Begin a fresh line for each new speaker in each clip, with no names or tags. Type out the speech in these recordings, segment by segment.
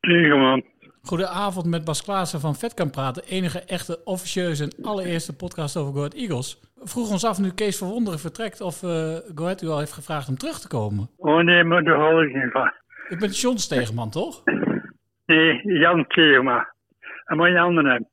Ingeman.
Goedenavond met Bas Klaassen van Vet kan praten. Enige echte officieuze en allereerste podcast over Go Ahead Eagles. Vroeg ons af nu Kees Verwonderen vertrekt of eh Go Ahead u al heeft gevraagd om terug te komen.
Oh nee, maar daar hou ik niet van.
Ik ben John Stegeman, toch?
Nee, Jan Keema. En moet je anderen hebben.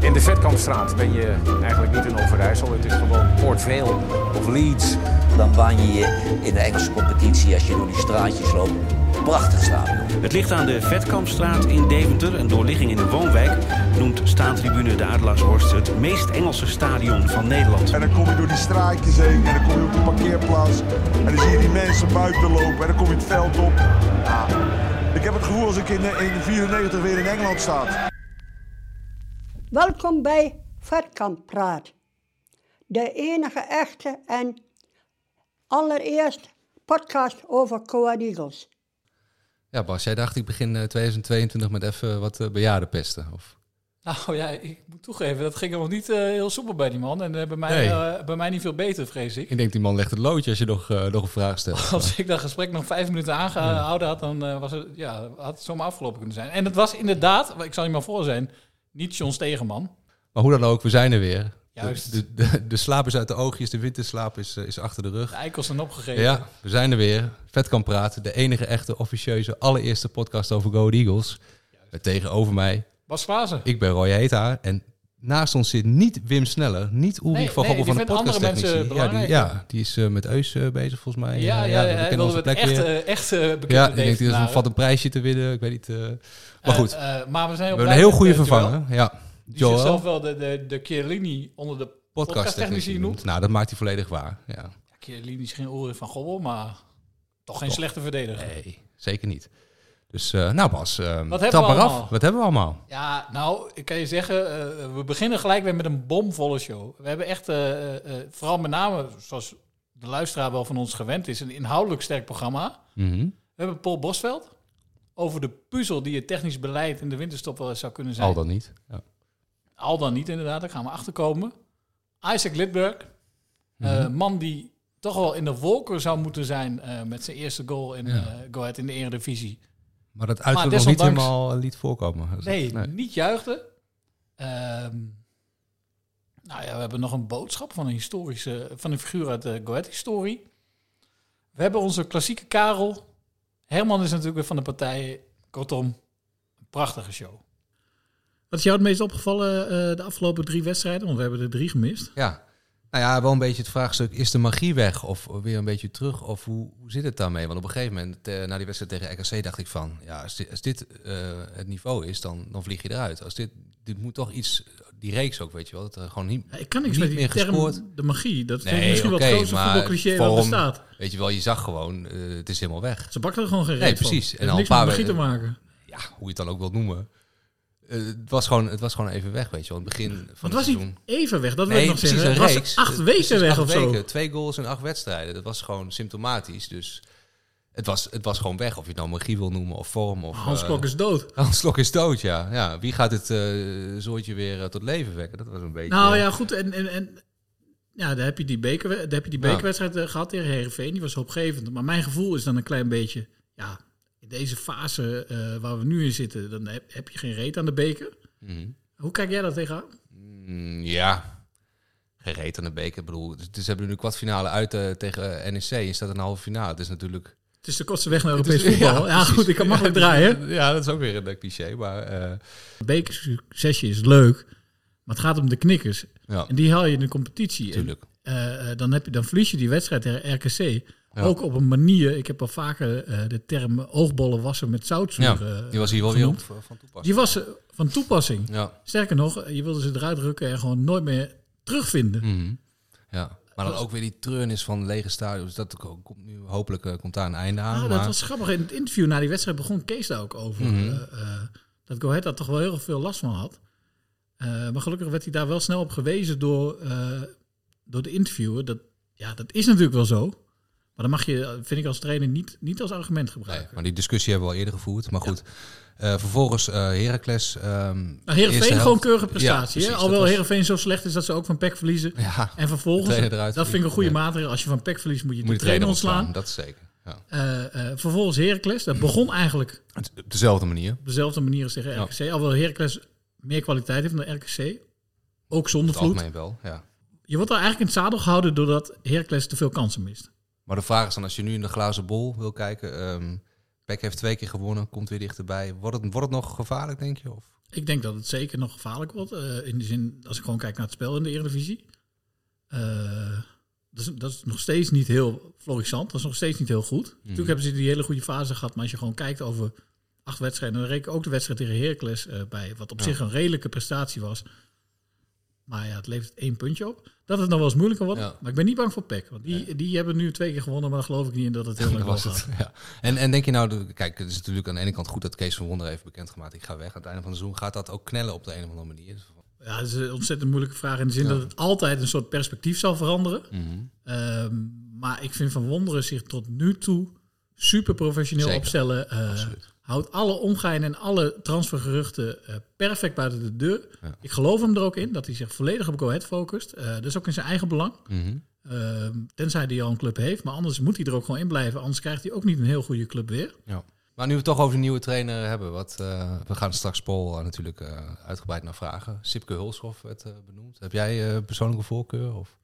In de Vetkampstraat ben je eigenlijk niet in Overijssel. Het is gewoon Port Vale of Leeds.
Dan waan je je in de Engelse competitie als je door die straatjes loopt. Prachtig stadion.
Het ligt aan de Vetkampstraat in Deventer, een doorligging in de woonwijk. Noemt staantribune de Adelaarshorst het meest Engelse stadion van Nederland.
En dan kom je door die straatjes heen en dan kom je op de parkeerplaats. En dan zie je die mensen buiten lopen en dan kom je het veld op. Ja, ik heb het gevoel als ik in, eh, in 94 weer in Engeland sta.
Welkom bij Vetkamp Praat. De enige echte en allereerst podcast over Coed Eagles.
Ja, Bas, jij dacht ik begin eh, 2022 met even wat eh, bejaarden pesten. Of...
Nou ja, ik moet toegeven, dat ging nog niet eh, heel soepel bij die man. En eh, bij, mij,
Nee.
eh, bij mij niet veel beter, vrees ik.
Ik denk, die man legt het loodje als je nog, eh, nog een vraag stelt.
Als ik dat gesprek nog vijf minuten aangehouden had, dan eh, was het, ja, had het zomaar afgelopen kunnen zijn. En het was inderdaad, ik zal je maar voor zijn, niet John Stegeman.
Maar hoe dan ook, we zijn er weer.
Juist.
De, de, de, de slaap is uit de oogjes, de winterslaap is, eh, is achter de
De
rug.
eikels zijn opgegeven.
Ja, we zijn er weer. Vet kan praten. De enige echte officieuze allereerste podcast over Go Ahead Eagles. Eh, Tegenover mij,
Bas Klaassen.
ik ben Roy Heta. En naast ons zit niet Wim Sneller, niet Ulrich
Nee,
van
nee,
Gobbel
die
van de
vindt andere
podcast technici.
mensen
ja, die,
belangrijk.
ja, die is eh, met Eus eh, bezig volgens mij.
Ja, ja,
Eh,
ja,
we
hij
kennen
wilde
onze
het
plek
echt,
weer.
eh, echt eh, bekende
Ja, ik denk dat
Deventenaren.
het vat een prijsje te winnen. Ik weet niet. eh, maar goed,
Eh,
we
eh, maar we zijn heel
hebben een
blij
heel
met,
goede
eh, Joël,
vervanger. Ja,
Die zichzelf eh,
Joel,
wel de, de, de Chiellini onder de
podcasttechnici
podcasttechnici noemt.
noemt. Nou, dat mamaakt hij volledig waar. Ja.
Ja, Chiellini is geen Ulrich van Gobbel, maar toch geen slechte verdediger.
Nee, zeker niet. Dus eh, nou Bas, eh,
we
trap maar
allemaal?
af. Wat hebben we allemaal?
Ja, nou, ik kan je zeggen, eh, we beginnen gelijk weer met een bomvolle show. We hebben echt, eh, eh, eh, vooral met name, zoals de luisteraar wel van ons gewend is, een inhoudelijk sterk programma.
Mhm.
We hebben Paul Bosveld over de puzzel die het technisch beleid in de winterstop wel eens zou kunnen zijn.
Al dan niet. Ja.
Al dan niet, inderdaad. Daar gaan we achterkomen. Isaac Lidberg. eh, man die toch wel in de wolken zou moeten zijn eh, met zijn eerste goal in, eh Go Ahead in de Eredivisie.
Maar dat uiterlijk nog niet
desondanks-
helemaal eh, liet voorkomen. Dus
Nee,
dat- nee.
niet juichte. Ehm, nou ja, we hebben nog een boodschap van een, historische, van een figuur uit de Go Ahead-historie. We hebben onze klassieke Karel. Herman is natuurlijk weer van de partij. Kortom, een prachtige show. Wat is jou het meest opgevallen eh, de afgelopen drie wedstrijden? Want we hebben er drie gemist.
Ja. Nou ja, wel een beetje het vraagstuk, is de magie weg of weer een beetje terug? Of hoe, hoe zit het daarmee? Want op een gegeven moment, eh, na die wedstrijd tegen RKC, dacht ik van... Ja, als dit, als dit eh, het niveau is, dan, dan vlieg je eruit. Als dit, dit moet toch iets, die reeks ook, weet je wel. Dat er gewoon niet,
Ja, Ik kan niks
niet
met die
meer
term
gescoord.
de magie. Dat vind ik
Nee,
misschien
oké,
wel het grootste
maar
voetbalcliché wat
vorm,
bestaat.
Weet je wel, je zag gewoon, eh, het is helemaal weg.
Ze bakken er gewoon geen reet
Nee,
van.
precies.
Het
En
heeft
al
niks
een
met
paar
magie te
weken-
maken.
Ja, hoe je het dan ook wilt noemen. Eh, het, was gewoon, het was gewoon even weg, weet je wel. In het begin van
Want
het
het was
seizoen.
niet even weg. Dat wil ik
Nee,
nog
precies,
zeggen.
een
Het was
reeks.
acht
Het-
weken
precies,
weg
acht
of zo.
weken. Twee goals in acht wedstrijden. Dat was gewoon symptomatisch. Dus het was, het was gewoon weg. Of je het nou magie wil noemen of vorm. Of,
Hans
eh,
Klok is dood.
Hans Klok is dood, ja. ja. Wie gaat het eh zoortje weer eh, tot leven wekken? Dat was een beetje...
Nou ja, goed. En, en, en ja, daar heb je die, beker, daar heb je die
Ja.
bekerwedstrijd eh, gehad tegen Heerenveen. Die was hoopgevend. Maar mijn gevoel is dan een klein beetje... Ja, in deze fase eh, waar we nu in zitten... dan heb, heb je geen reet aan de beker.
Mhm.
Hoe kijk jij daar tegenaan?
Mm, ja. Gereed aan de beker. Ik bedoel, dus, dus hebben we nu kwartfinale uit eh, tegen eh, NEC. Je staat in de halve finale. Het is natuurlijk...
Het is de kortste weg naar
het is-
Europees voetbal. Ja,
precies.
goed. Ik kan makkelijk
Ja,
draaien.
Ja, dat is ook weer een eh, cliché. Maar eh,
bekersuccesje is leuk, maar het gaat om de knikkers.
ja,
En die haal je in de competitie. En,
natuurlijk.
eh, eh, dan, heb je, dan verlies je die wedstrijd tegen RKC. Ook op een manier, ik heb al vaker eh, de term oogbollen wassen met zoutzuur.
Ja,
eh,
die was hier wel weer op,
genoemd.
van toepassing.
Die was eh, van toepassing.
Ja.
Sterker nog, eh, je wilde ze eruit rukken en gewoon nooit meer terugvinden.
Mhm. Ja, maar dan ook weer die treurnis van lege stadions. Dat ko- komt nu, hopelijk eh, komt daar een einde aan.
Ah,
maar
dat was grappig. In het interview na die wedstrijd begon Kees daar ook over.
Mhm.
eh, eh, dat Go Ahead daar toch wel heel veel last van had. Eh, maar gelukkig werd hij daar wel snel op gewezen door, eh, door de interviewer. Dat, ja, dat is natuurlijk wel zo. Maar dat mag je, eh, vind ik als trainer, niet, niet als argument
Nee,
gebruiken.
maar die discussie hebben we al eerder gevoerd. Maar goed, Eh, vervolgens eh Heracles. ehm
Maar Nou, Heerenveen
eerste
gewoon
helft.
keurige
Ja,
prestatie.
precies,
hè?
dat
Alhoewel
was-
Heerenveen zo slecht is dat ze ook van PEC verliezen.
Ja,
En vervolgens,
de trainer eruit
dat vind ik een goede
vliegen.
maatregel. Als je van PEC verliest moet je
moet
de
je trainer
trainer
ontslaan.
ontslaan.
Dat is zeker. Ja.
Eh, eh, vervolgens Heracles. Dat begon eigenlijk
Het- Op dezelfde manier.
op dezelfde manier als tegen RKC. Alhoewel Heracles meer kwaliteit heeft dan RKC. Ook zonder
Het
vloed.
algemeen wel, ja.
Je wordt daar eigenlijk in het zadel gehouden doordat Heracles te veel kansen mist.
Maar de vraag is dan, als je nu in de glazen bol wil kijken... ehm Peck heeft twee keer gewonnen, komt weer dichterbij. Wordt het, wordt het nog gevaarlijk, denk je? Of?
Ik denk dat het zeker nog gevaarlijk wordt. eh, in de zin, als ik gewoon kijk naar het spel in de Eredivisie. Eh, dat, is, dat is nog steeds niet heel florissant. Dat is nog steeds niet heel
Mhm.
goed. Natuurlijk hebben ze die hele goede fase gehad. Maar als je gewoon kijkt over acht wedstrijden. Dan reken ik ook de wedstrijd tegen Heracles eh, bij. Wat op zich een redelijke prestatie was. Maar ja, het levert één puntje op. Dat het nog wel eens moeilijker wordt.
Ja.
Maar ik ben niet bang voor PEC. Want die, die hebben nu twee keer gewonnen. Maar daar geloof ik niet in dat het heel
Dat
lang
was
was.
het. Ja. En, en denk je nou, de- kijk, het is natuurlijk aan de ene kant goed dat Kees van Wonder heeft bekendgemaakt. Ik ga weg. Aan het einde van het seizoen gaat dat ook knellen op de een of andere manier.
Ja, dat is een ontzettend moeilijke vraag in de zin dat het altijd een soort perspectief zal veranderen. Ehm, maar ik vind Van Wonderen zich tot nu toe super professioneel
Zeker.
opstellen. Eh, houdt alle omgein en alle transfergeruchten eh, perfect buiten de deur. Ik geloof hem er ook in dat hij zich volledig op Go Ahead focust. Eh, dat is ook in zijn eigen belang. Ehm, tenzij hij al een club heeft. Maar anders moet hij er ook gewoon in blijven. Anders krijgt hij ook niet een heel goede club weer.
Ja. Maar nu we het toch over de nieuwe trainer hebben. Wat, eh, we gaan straks Paul eh, natuurlijk eh, uitgebreid naar vragen. Sipke Hulshoff werd eh, benoemd. Heb jij eh, persoonlijke voorkeur? Of?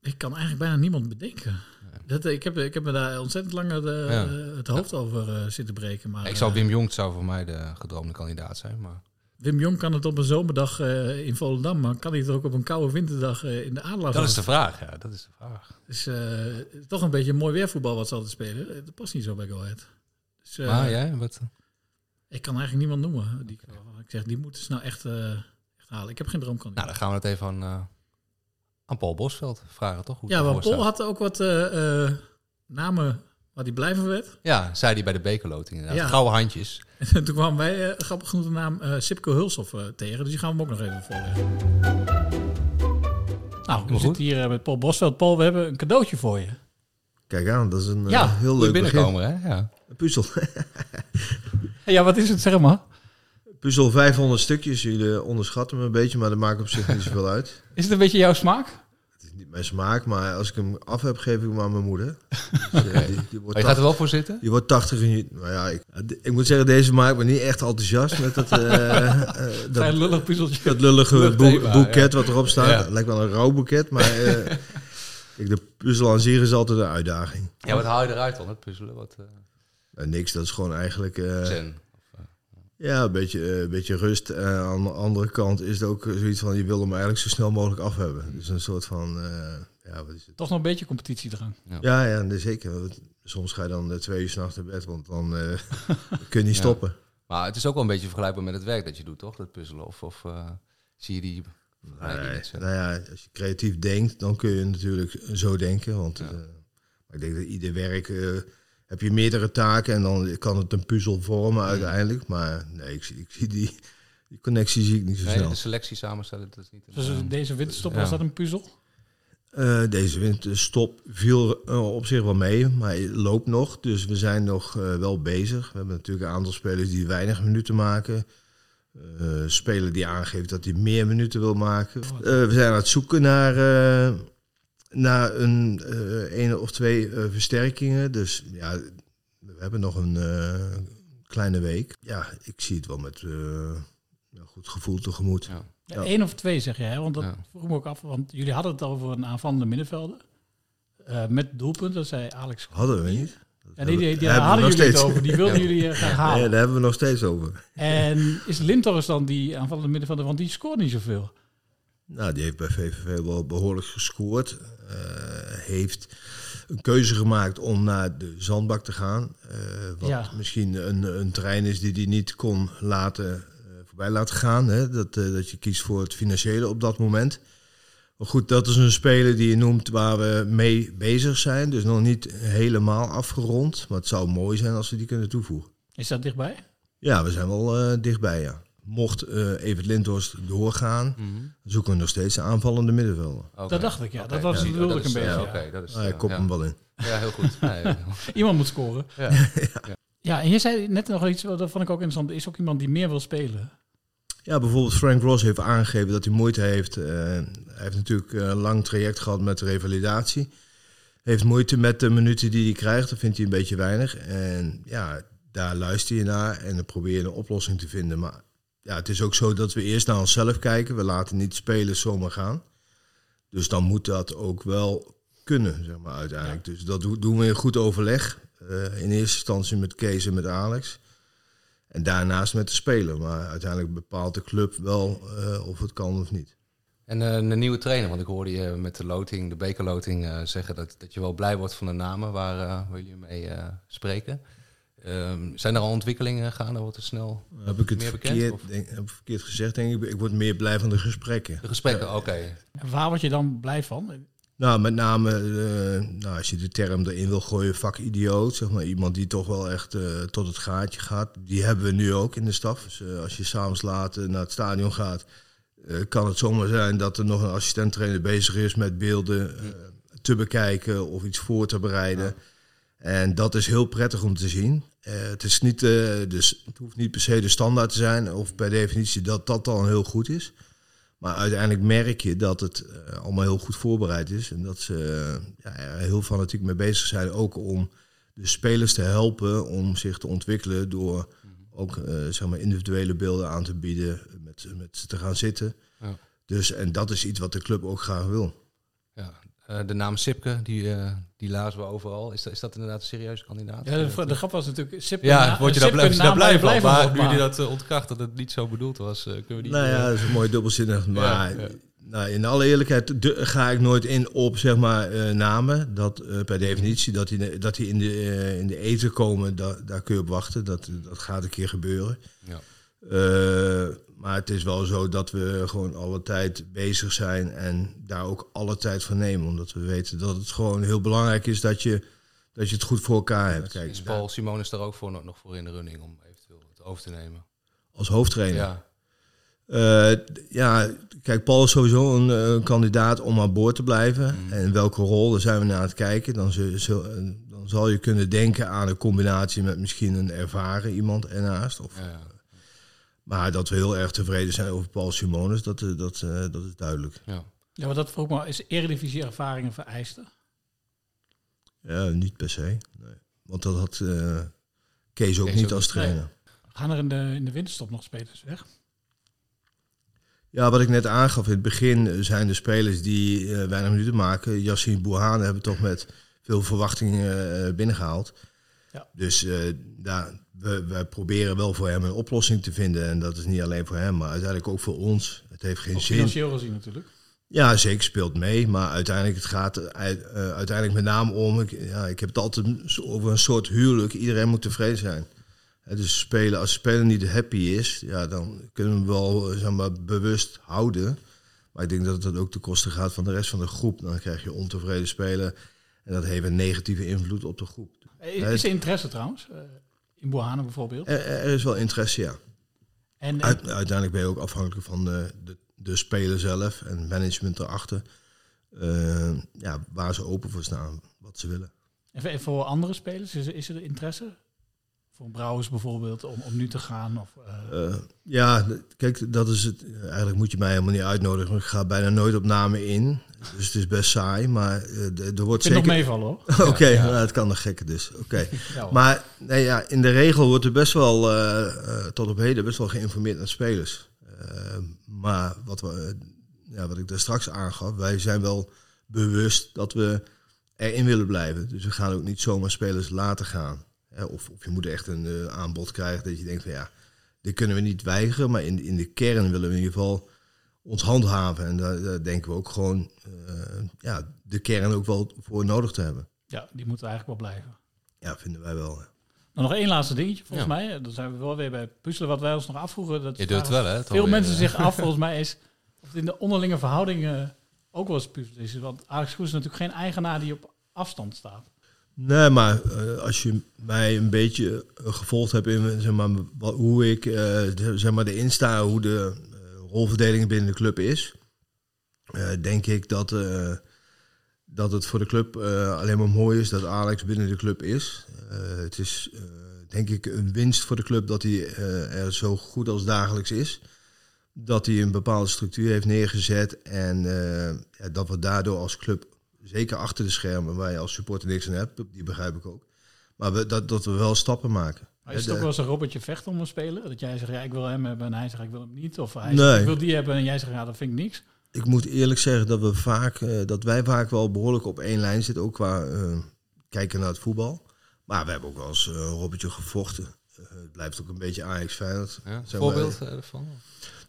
Ik kan eigenlijk bijna niemand bedenken. Dat, eh, ik, heb, ik heb me daar ontzettend lang het, eh,
Ja.
het hoofd over eh, zitten breken. Maar,
Ik zou
eh,
Wim Jong zou voor mij de gedroomde kandidaat zijn. Maar
Wim Jong kan het op een zomerdag eh, in Volendam, maar kan hij het ook op een koude winterdag eh, in de Adelaar?
dat is
vangen?
de vraag. Ja, dat is de vraag.
Dus, eh, toch een beetje mooi weervoetbal wat ze altijd spelen. Eh, Dat past niet zo bij Go Ahead. Dus, eh,
Maar jij? Wat?
Ik kan eigenlijk niemand noemen. Die, waarvan Ik zeg, die moeten ze nou echt, eh, echt halen. Ik heb geen droomkandidaat.
Nou, dan gaan we het even aan, eh, aan Paul Bosveld vragen, toch? Hoe het
ja, want
ervoor
Paul
staat.
had ook wat eh, eh, namen waar hij blij van werd.
Ja, zei hij bij de bekerloting inderdaad.
Ja.
Gouden handjes.
En toen kwamen wij eh, grappig genoeg de naam eh Sipke Hulshoff eh, tegen. Dus die gaan we hem ook nog even voorleggen. Nou, we
goed.
zitten hier eh, met Paul Bosveld. Paul, we hebben een cadeautje voor je.
Kijk aan, dat is een eh,
Ja,
heel
Goed
leuk begin.
binnenkomen, hè? Ja.
Een puzzel.
Ja, wat is het, zeg maar?
puzzel 500 stukjes. Jullie eh, onderschatten me een beetje, maar dat maakt op zich niet zoveel uit.
Is het een beetje jouw smaak?
Het is niet mijn smaak, maar als ik hem af heb, geef ik hem aan mijn moeder. Dus, eh, die, die wordt
Maar je gaat er wel voor zitten?
Je wordt 80 en je- Nou ja, ik, ik moet zeggen, deze maakt me niet echt enthousiast met dat, eh, eh, dat,
Een lullig puzzeltje.
dat lullige
Lullig
boe-
thema,
boeket wat erop staat.
Ja.
Het lijkt wel een rauw boeket, maar eh, kijk, de puzzel aan zich is altijd een uitdaging.
Ja, wat haal je eruit dan? Het puzzelen? Wat, eh,
Nou, niks, dat is gewoon eigenlijk... eh,
zen.
ja, een beetje, eh, een beetje rust. Eh, aan de andere kant is het ook zoiets van, je wil hem eigenlijk zo snel mogelijk af hebben. Dus een soort van... eh, ja, wat is het?
Toch nog een beetje competitiedrang.
Ja, ja, nee, zeker. Want Soms ga je dan eh, twee uur s'nachts naar bed, want dan eh, kun je niet
Ja.
stoppen.
Maar het is ook wel een beetje vergelijkbaar met het werk dat je doet, toch? Dat puzzelen. Of, of eh, zie je die... vergelijking
Nee,
met zen?
nou ja, als je creatief denkt, dan kun je natuurlijk zo denken. Want eh, maar ik denk dat ieder werk eh, heb je meerdere taken en dan kan het een puzzel vormen uiteindelijk. Maar nee, ik, zie- ik zie die, die connectie zie ik niet zo
Nee,
snel.
de selectie samenstellen, dat is niet... een-
Dus eh, deze winterstop
ja.
was dat een puzzel.
Eh, deze winterstop viel eh, op zich wel mee, maar hij loopt nog. Dus we zijn nog eh, wel bezig. We hebben natuurlijk een aantal spelers die weinig minuten maken. Eh speler die aangeeft dat hij meer minuten wil maken. Eh, we zijn aan het zoeken naar, eh, naar een eh, ene of twee eh, versterkingen. Dus ja, we hebben nog een eh, kleine week. Ja, ik zie het wel met eh, een goed gevoel tegemoet.
Ja.
Ja, Eén of twee zeg jij, hè? want dat
Ja.
vroeg ik me ook af. Want jullie hadden het over een aanvallende middenvelder. Eh, met doelpunt, dat zei Alex.
Hadden we niet?
Ja, die, die, die
Hebben we
hadden
nog
jullie het
steeds.
over, die wilden jullie eh, graag halen.
Ja, daar hebben we nog steeds over.
En is Lindorst dan die aanvallende middenvelder, want die scoort niet zoveel.
Nou, die heeft bij VVV wel behoorlijk gescoord. Eh, heeft een keuze gemaakt om naar de zandbak te gaan. Eh, wat
Ja.
misschien een, een trein is die hij niet kon laten, eh, voorbij laten gaan. Hè? Dat, eh, dat je kiest voor het financiële op dat moment. Maar goed, dat is een speler die je noemt waar we mee bezig zijn. Dus nog niet helemaal afgerond. Maar het zou mooi zijn als we die kunnen toevoegen.
Is dat dichtbij?
Ja, we zijn wel eh, dichtbij, ja. Mocht eh Evert Lindhorst doorgaan, zoeken we nog steeds een aanvallende middenvelder.
Mhm. Oké.
Dat dacht ik, ja. Dat
Oké,
was-
ja,
bedoelde
dat
ik een
is,
beetje,
ja,
ja.
oké, dat is,
Ah, ik
eh,
kop
ja.
hem wel in.
Ja, heel goed. Nee,
Iemand moet scoren.
Ja.
Ja, en je zei net nog iets, dat vond ik ook interessant. Er is ook iemand die meer wil spelen.
Ja, bijvoorbeeld Frank Ross heeft aangegeven dat hij moeite heeft. Eh, hij heeft natuurlijk eh, een lang traject gehad met de revalidatie.
heeft moeite met de minuten die hij krijgt. Dat vindt hij een beetje weinig. En ja, daar luister je naar en dan probeer je een oplossing te vinden. Maar ja, het is ook zo dat we eerst naar onszelf kijken. We laten niet spelers zomaar gaan. Dus dan moet dat ook wel kunnen, zeg maar, uiteindelijk. Dus dat do- doen we in goed overleg. Eh, in eerste instantie met Kees en met Alex. En daarnaast met de speler. Maar uiteindelijk bepaalt de club wel eh, of het kan of niet.
En eh, een nieuwe trainer, want ik hoorde je met de loting, de bekerloting, eh, zeggen dat, dat je wel blij wordt van de namen waar, eh, waar jullie mee eh, spreken. Ehm, zijn er al ontwikkelingen gaande? Wordt er snel
Heb ik het
meer bekend?
verkeerd,
Of
denk, heb ik verkeerd gezegd, denk ik. Ik word meer blij van de gesprekken.
de gesprekken,
Eh,
oké.
En waar word je dan blij van?
Nou, met name eh, nou, als je de term erin wil gooien, vakidioot. Zeg maar, iemand die toch wel echt eh, tot het gaatje gaat. Die hebben we nu ook in de staf. Dus eh, als je s'avonds laat eh, naar het stadion gaat, eh, kan het zomaar zijn dat er nog een assistent-trainer bezig is met beelden eh, te bekijken of iets voor te bereiden. En dat is heel prettig om te zien. Eh, het, is niet, eh, dus het hoeft niet per se de standaard te zijn, of per definitie dat dat dan heel goed is. Maar uiteindelijk merk je dat het eh, allemaal heel goed voorbereid is. En dat ze eh, ja, er heel fanatiek mee bezig zijn. Ook om de spelers te helpen om zich te ontwikkelen. Door
Mhm.
ook eh, zeg maar individuele beelden aan te bieden. Met, met ze te gaan zitten.
Ja.
Dus, en dat is iets wat de club ook graag wil.
Ja. Eh, de naam Sipke, die, eh, die lazen we overal. Is, dat- is dat inderdaad een serieuze kandidaat?
Ja, de, vra- de grap was natuurlijk... Sipke
Ja,
na-
word je daar
Sipke
blij,
na-
daar blij van?
van
Maar
wordt,
nu je
maar-
dat eh, ontkracht dat het niet zo bedoeld was, eh, kunnen we die...
Nou ja, dat is een mooi dubbelzinnig. Maar
ja.
Nou, in alle eerlijkheid de- ga ik nooit in op zeg maar, eh, namen. Dat, eh, per definitie, dat die, dat die in, de, eh, in de eten komen, da- daar kun je op wachten. Dat, dat gaat een keer gebeuren.
Ja.
Eh, maar het is wel zo dat we gewoon alle tijd bezig zijn en daar ook alle tijd van nemen. Omdat we weten dat het gewoon heel belangrijk is dat je, dat je het goed voor elkaar hebt. Kijk,
Is Dus Paul Simon is daar ook voor, nog voor in de running om eventueel het over te nemen?
als hoofdtrainer.
Ja,
Eh, d- ja, kijk, Paul is sowieso een, eh, een kandidaat om aan boord te blijven.
Mhm.
En in welke rol, daar zijn we naar aan het kijken. Dan, zul- zul- eh, dan zal je kunnen denken aan een combinatie met misschien een ervaren iemand ernaast. Of,
ja, ja.
Maar dat we heel erg tevreden zijn over Paul Simonis, dat, eh, dat, eh, dat is duidelijk.
ja.
Ja, maar dat vroeg me, is eredivisie ervaringen vereisten?
Ja, niet per se. Nee. Want dat had eh, Kees ook
Kees
niet
ook
als
niet.
trainer.
Gaan er in de, in de winterstop nog spelers weg?
Ja, wat ik net aangaf, in het begin eh, zijn de spelers die eh, weinig minuten maken. Yassine Bouhane hebben toch met veel verwachtingen eh, binnengehaald.
Ja.
Dus eh, daar, we, we proberen wel voor hem een oplossing te vinden. En dat is niet alleen voor hem, maar uiteindelijk ook voor ons. Het heeft geen
Ook
zin.
Financieel gezien natuurlijk.
Ja, zeker speelt mee. Maar uiteindelijk het gaat er uit- eh, uiteindelijk met name om. Ik, ja, ik heb het altijd over een soort huwelijk. Iedereen moet tevreden zijn. Hè, dus spelen, als de speler niet happy is, ja, dan kunnen we hem wel eh, zeg maar, bewust houden. Maar ik denk dat dat ook ten koste gaat van de rest van de groep. Dan krijg je ontevreden spelen. En dat heeft een negatieve invloed op de groep.
Eh, Is, is er interesse trouwens? Eh, in Bohane bijvoorbeeld.
Er, er is wel interesse, ja.
En, en-
Uit- uiteindelijk ben je ook afhankelijk van de, de, de speler zelf en management erachter. Eh, ja, waar ze open voor staan, wat ze willen.
en voor- en voor andere spelers, is, er- is er interesse? Voor Brouwers bijvoorbeeld, om, om nu te gaan? Of, eh,
Eh, ja, d- kijk, dat is het. Eigenlijk moet je mij helemaal niet uitnodigen, want ik ga bijna nooit op namen in. Dus het is best saai, maar eh, d- er wordt
ik vind nog
zeker...
meevallen hoor.
Oké, nou, het kan een gekke dus. Oké.
Ja, hoor.
Maar nee, ja, in de regel wordt er best wel, eh, eh, tot op heden, best wel geïnformeerd naar spelers. Eh, maar wat, we, eh, ja, wat ik daar straks aangaf, wij zijn wel bewust dat we erin willen blijven. Dus we gaan ook niet zomaar spelers laten gaan. Hè, of, of je moet echt een eh, aanbod krijgen dat je denkt van ja, dit kunnen we niet weigeren. Maar in, in de kern willen we in ieder geval ons handhaven. En daar, daar denken we ook gewoon eh, ja, de kern ook wel voor nodig te hebben.
Ja, die moeten eigenlijk wel blijven.
Ja, vinden wij wel. hè.
Nou, nog één laatste dingetje, volgens
Ja.
mij. Dan zijn we wel weer bij het puzzelen wat wij ons nog afvroegen. Dat
Je doet het wel, hè? Het
Veel
alweer,
mensen
eh.
zich af, volgens mij, is of het in de onderlinge verhoudingen eh, ook wel eens puzzelen is. Want Alex Groes is natuurlijk geen eigenaar die op afstand staat.
Nee, maar eh, als je mij een beetje eh, gevolgd hebt in zeg maar, wa- hoe ik eh, de, zeg maar, erin sta, hoe de eh, rolverdeling binnen de club is, eh, denk ik dat, eh, dat het voor de club eh, alleen maar mooi is dat Alex binnen de club is. Eh, het is eh, denk ik een winst voor de club dat hij eh, er zo goed als dagelijks is. Dat hij een bepaalde structuur heeft neergezet en eh, ja, dat we daardoor als club
zeker achter de schermen, waar je als supporter niks aan hebt, die begrijp ik ook. Maar we, dat, dat we wel stappen maken.
Maar is het
Hè,
ook
de-
wel eens een robbertje vecht om een speler? Dat jij zegt, ja, ik wil hem hebben en hij zegt, ik wil hem niet. Of hij
Nee.
zegt, ik wil die hebben en jij zegt, ja, dat vind ik niks.
Ik moet eerlijk zeggen dat, we vaak, eh, dat wij vaak wel behoorlijk op één lijn zitten, ook qua eh, kijken naar het voetbal. Maar we hebben ook wel eens eh, een robbertje gevochten. Eh, het blijft ook een beetje Ajax Feyenoord.
Ja,
Zeg maar,
voorbeeld eh, ervan?